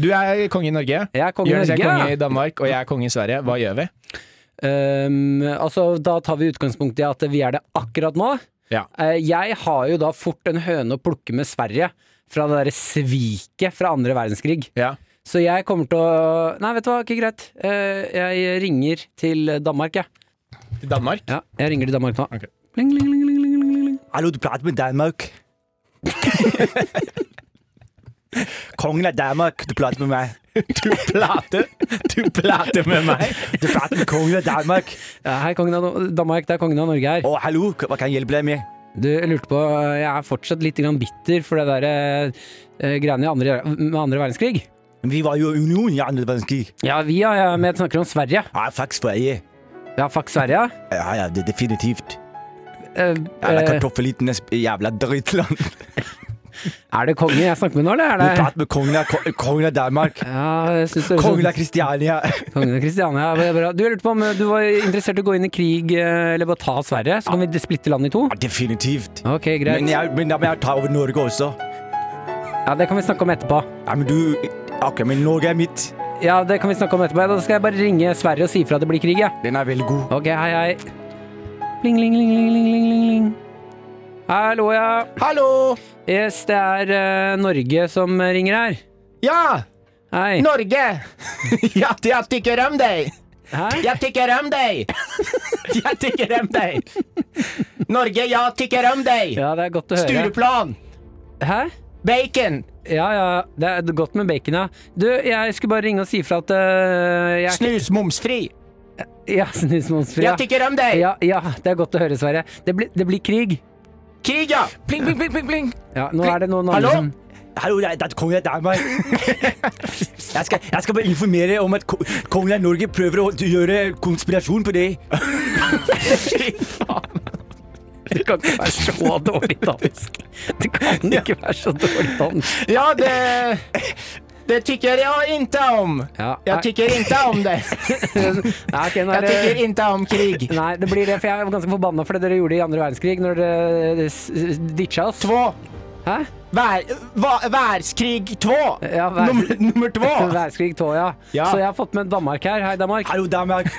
Speaker 4: Du er konge i Norge.
Speaker 3: Jeg er konge i
Speaker 4: Jonis er
Speaker 3: Norge,
Speaker 4: konge
Speaker 3: ja.
Speaker 4: i Danmark, og jeg er konge i Sverige. Hva gjør vi?
Speaker 3: Ehm, altså, da tar vi utgangspunkt i at vi er det akkurat nå.
Speaker 4: Ja.
Speaker 3: Eh, jeg har jo da fort en høne å plukke med Sverige fra det derre sviket fra andre verdenskrig.
Speaker 4: Ja.
Speaker 3: Så jeg kommer til å Nei, vet du hva, ikke greit. Eh, jeg ringer til Danmark, jeg.
Speaker 4: Til Danmark?
Speaker 3: Ja. jeg ringer til Danmark nå.
Speaker 4: Ok.
Speaker 3: Pling, pling, pling, pling, pling, pling, pling.
Speaker 8: Hallo, du prater med Danmark. Kongen av Danmark, du prater med meg.
Speaker 4: Du plate! Du plate med meg!
Speaker 8: Du prater med kongen av Danmark.
Speaker 3: Ja, hei, kongen av No- Danmark, det er kongen av Norge her.
Speaker 8: Å, hallo, hva kan jeg hjelpe deg med?
Speaker 3: Du, jeg lurte på eh, Jeg er fortsatt litt grann bitter for det der eh, greiene i andre, med andre verdenskrig.
Speaker 8: Vi var jo i union i andre verdenskrig.
Speaker 3: Ja, vi er, ja, men jeg snakker om Sverige.
Speaker 8: Ja, fuck Sverige.
Speaker 3: Ja, fuck Sverige.
Speaker 8: Ja, ja, det er definitivt.
Speaker 3: Eh,
Speaker 8: Jævla
Speaker 3: eh,
Speaker 8: kartoffelitenes jævla drittland.
Speaker 3: er det kongen jeg snakker med nå, eller
Speaker 8: Du
Speaker 3: er det
Speaker 8: prater med kongen av, ko- kongen av Danmark.
Speaker 3: ja, jeg synes det høres
Speaker 8: Kongen
Speaker 3: ut-
Speaker 8: av Kristiania.
Speaker 3: Kongen av Kristiania. Ja, det er bra. Du, jeg lurte på om eh, du var interessert i å gå inn i krig, eh, eller bare ta Sverige? Så kan vi splitte landet i to?
Speaker 8: Ja, definitivt.
Speaker 3: Ok, greit.
Speaker 8: Men, jeg, men da må jeg ta over Norge også.
Speaker 3: Ja, det kan vi snakke om etterpå.
Speaker 8: Ja, men du Ok, men Norge er mitt.
Speaker 3: Ja, det kan vi snakke om etterpå. Ja, Da skal jeg bare ringe Sverige og si ifra at det blir krig, jeg.
Speaker 8: Den er veldig god.
Speaker 3: Ok, hei, hei. Pling, ling, ling, ling, ling, ling, ling, ling. Hallo, ja.
Speaker 4: Hallo!
Speaker 3: Yes, det er eh, Norge som ringer her.
Speaker 4: Ja!
Speaker 3: Hei.
Speaker 4: Norge! Ja, jeg tykker om deg!
Speaker 3: Hei.
Speaker 4: Jeg tykker om deg! Jeg tykker om deg! Norge, jeg tykker om deg!
Speaker 3: Ja, det er godt å høre.
Speaker 4: Stureplan!
Speaker 3: Hæ?
Speaker 4: Bacon!
Speaker 3: Ja, ja, det er godt med bacon, ja. Du, jeg skulle bare ringe og si ifra at eh, jeg
Speaker 4: Snus momsfri!
Speaker 3: Ja, snusmonsfri. Ja.
Speaker 4: Jeg tykker om deg!
Speaker 3: ja, ja, det er godt å høre, Sverre. Det, blir- det blir krig.
Speaker 4: Krig, ja!
Speaker 10: Pling, pling, pling, pling, pling.
Speaker 3: Ja, nå er det noen
Speaker 4: Hallo?
Speaker 3: andre som
Speaker 8: Hallo, det er, det er kongen av Danmark. Jeg skal, jeg skal bare informere om at ko- kongen av Norge prøver å gjøre konspirasjon på det.
Speaker 3: Det kan ikke være så dårlig dansk. Det kan ikke være så dårlig dansk.
Speaker 4: Ja, det Det tykker jeg ikke om!
Speaker 3: Ja,
Speaker 4: Jeg
Speaker 3: nei,
Speaker 4: tykker ikke om det!
Speaker 3: nei, ok, nå er
Speaker 4: Jeg
Speaker 3: det-
Speaker 4: tykker ikke om krig!
Speaker 3: Nei, det blir det, for jeg var ganske forbanna for det dere gjorde i andre verdenskrig, når dere eh, s- s- ditcha oss.
Speaker 4: Två!
Speaker 3: Hæ?
Speaker 4: Vär, va, världskrig 2!
Speaker 3: Ja, vär-
Speaker 4: Nummer, nummer två!
Speaker 3: Verdenskrig tå, ja.
Speaker 4: Ja.
Speaker 3: Så jeg har fått med Danmark her. Hei, Danmark.
Speaker 8: Hallo, Danmark.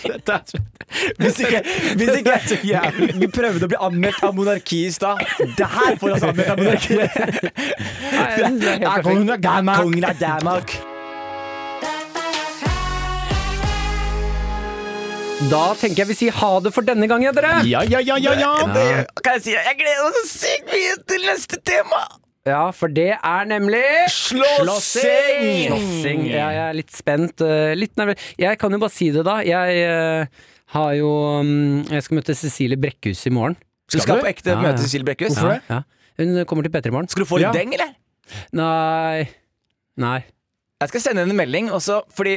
Speaker 8: Hvis ikke, hvis ikke vi prøvde å bli anmeldt av monarki i stad. Det her får oss anmeldt av monarkiet.
Speaker 3: Nei, jeg synes det er helt perfekt.
Speaker 8: av Danmark. Kongen av Danmark.
Speaker 3: Da tenker jeg vi sier ha det for denne gangen, dere.
Speaker 4: Ja, ja, ja, ja, ja!
Speaker 8: Kan jeg si Jeg gleder meg så sykt mye til neste tema.
Speaker 3: Ja, for det er nemlig
Speaker 8: Slåssing!
Speaker 3: Slåssing. Ja, jeg er litt spent. eh, Litt nervøs. Jeg kan jo bare si det, da. Jeg eh, har jo mm, Jeg skal møte Cecilie Brekkhus i morgen.
Speaker 5: Du skal på ekte
Speaker 3: Ja, ja.
Speaker 5: møte Cecilie Brekkhus.
Speaker 3: ja, Ja. Hun kommer til P3 i morgen.
Speaker 5: Skal du få litt
Speaker 4: Ja.
Speaker 5: deng, eller?
Speaker 3: Nei Nei.
Speaker 5: Jeg skal sende henne en melding også, fordi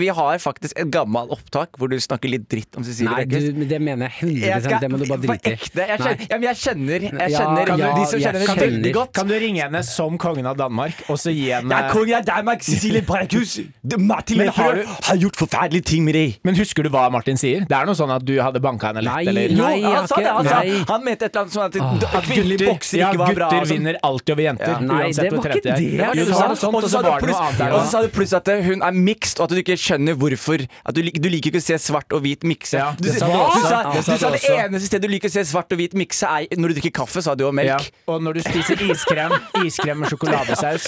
Speaker 5: vi har faktisk et gammelt opptak hvor du snakker litt dritt om Cecilie
Speaker 3: Nei,
Speaker 5: Brekkhus.
Speaker 3: du, men det mener jeg 100
Speaker 5: Jeg skal-
Speaker 3: Det må du bare
Speaker 5: på
Speaker 3: drite i.
Speaker 5: ekte, jeg
Speaker 3: Nei.
Speaker 5: kjenner, ja, men jeg kjenner, jeg
Speaker 3: Ja,
Speaker 5: kjenner
Speaker 3: kan du-
Speaker 5: de som
Speaker 3: jeg
Speaker 5: kjenner henne
Speaker 3: skjønner.
Speaker 5: veldig godt.
Speaker 4: Kan du ringe henne som kongen av Danmark, og så gi
Speaker 8: Det er
Speaker 4: henne
Speaker 8: kongen av Danmark, Cecilie Brækhus. Martin
Speaker 4: Men
Speaker 8: Luther
Speaker 4: har du-
Speaker 8: har gjort forferdelige ting med deg.
Speaker 4: Men husker du hva Martin sier? Det er noe sånn at du hadde banka henne lett,
Speaker 3: Nei,
Speaker 4: eller?
Speaker 3: nei,
Speaker 5: Jo,
Speaker 3: jeg
Speaker 5: han sa det.
Speaker 3: har
Speaker 5: Han,
Speaker 3: ikke
Speaker 5: sa,
Speaker 3: Nei.
Speaker 5: han mente et eller annet sånn at, at kvinnelige
Speaker 4: Gutter,
Speaker 5: boksere
Speaker 4: ja,
Speaker 5: ikke var bra.
Speaker 4: gutter
Speaker 5: og sånn.
Speaker 4: vinner alltid over jenter.
Speaker 3: Nei,
Speaker 4: uansett
Speaker 3: det
Speaker 4: hvor
Speaker 3: var
Speaker 4: trente
Speaker 3: ikke
Speaker 4: de er.
Speaker 3: det
Speaker 4: Jo,
Speaker 3: jeg
Speaker 4: du
Speaker 3: sa.
Speaker 4: sa noe sånt, og så var det noe annet der
Speaker 8: Og så
Speaker 5: så sa du plutselig at eh, hun er mixed, og at du ikke skjønner hvorfor At du, lik- du liker ikke å se svart og hvit mikse.
Speaker 4: Ja,
Speaker 5: du,
Speaker 4: det sa du
Speaker 5: hva?
Speaker 4: også.
Speaker 5: Du
Speaker 4: Ja,
Speaker 5: sa, du
Speaker 4: det sa
Speaker 5: sa
Speaker 4: du
Speaker 5: det
Speaker 4: også.
Speaker 5: eneste stedet du liker å se svart og hvit mikse, er når du drikker kaffe, sa du, og melk.
Speaker 4: Og når du spiser iskrem, iskrem med sjokoladesaus,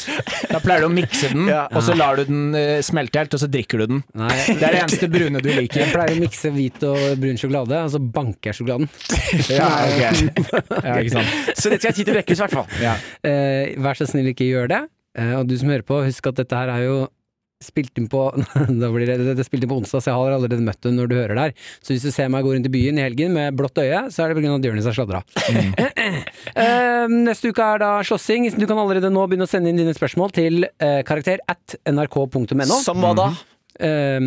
Speaker 4: da pleier du å mikse den,
Speaker 5: Ja.
Speaker 4: og så lar du den eh, smelte helt, og så drikker du den.
Speaker 3: Nei,
Speaker 4: Det er det eneste brune du
Speaker 3: jeg
Speaker 4: liker.
Speaker 3: pleier å mikse hvit og brun sjokolade, altså og så banker jeg sjokoladen.
Speaker 4: Ja, ok. Mhm. ja ikke sant.
Speaker 5: Så dette skal jeg si til Brekkhus, i hvert fall.
Speaker 3: Eh, vær så snill, ikke gjør det. Eh, og du som hører på, husk at dette her er jo spilt inn på da blir det, det er spilt inn på onsdag, så jeg har allerede møtt henne når du hører der. Så hvis du ser meg gå rundt i byen i helgen med blått øye, så er det pga. at Jonis har sladra. Eh, neste uke er da slåssing. Du kan allerede nå begynne å sende inn dine spørsmål til eh, karakter at nrk.no.
Speaker 8: Som hva da?
Speaker 5: Mhm.
Speaker 3: Eh,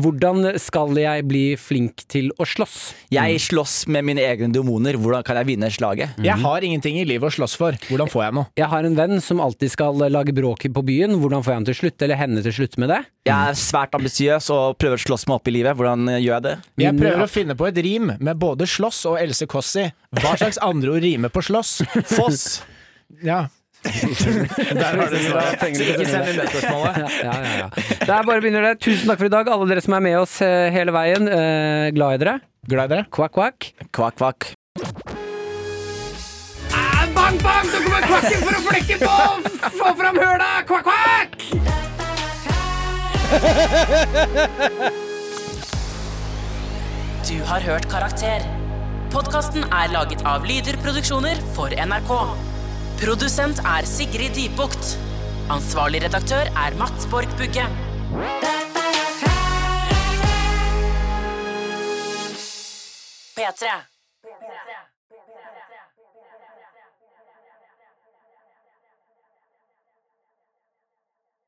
Speaker 3: hvordan skal jeg bli flink til å slåss?
Speaker 8: Jeg slåss med mine egne demoner. Hvordan kan jeg vinne slaget?
Speaker 4: Jeg har ingenting i livet å slåss for. Hvordan får jeg noe?
Speaker 3: Jeg har en venn som alltid skal lage bråk på byen. Hvordan får jeg han til å slutte, eller henne til å slutte med det?
Speaker 8: Jeg er svært ambisiøs og prøver å slåss meg opp i livet. Hvordan eh, gjør jeg det?
Speaker 4: Jeg prøver å finne på et rim med både slåss og Else Kåss i. Hva slags andre ord rimer på slåss?
Speaker 8: Foss!
Speaker 4: Ja. Der har du svaret. Ikke send inn det spørsmålet.
Speaker 3: Ja, ja, ja, ja. Det er bare å begynne det. Tusen takk for i dag, alle dere som er med oss eh, hele veien. Eh, glad i dere.
Speaker 4: Glad i dere.
Speaker 3: Kvakk, kvakk.
Speaker 8: Kvakk, kvakk.
Speaker 2: Du har hørt Karakter. Podkasten er laget av Lyder Produksjoner for NRK. Produsent er Sigrid Dybukt. Ansvarlig redaktør er Mats Borg Bugge. P3.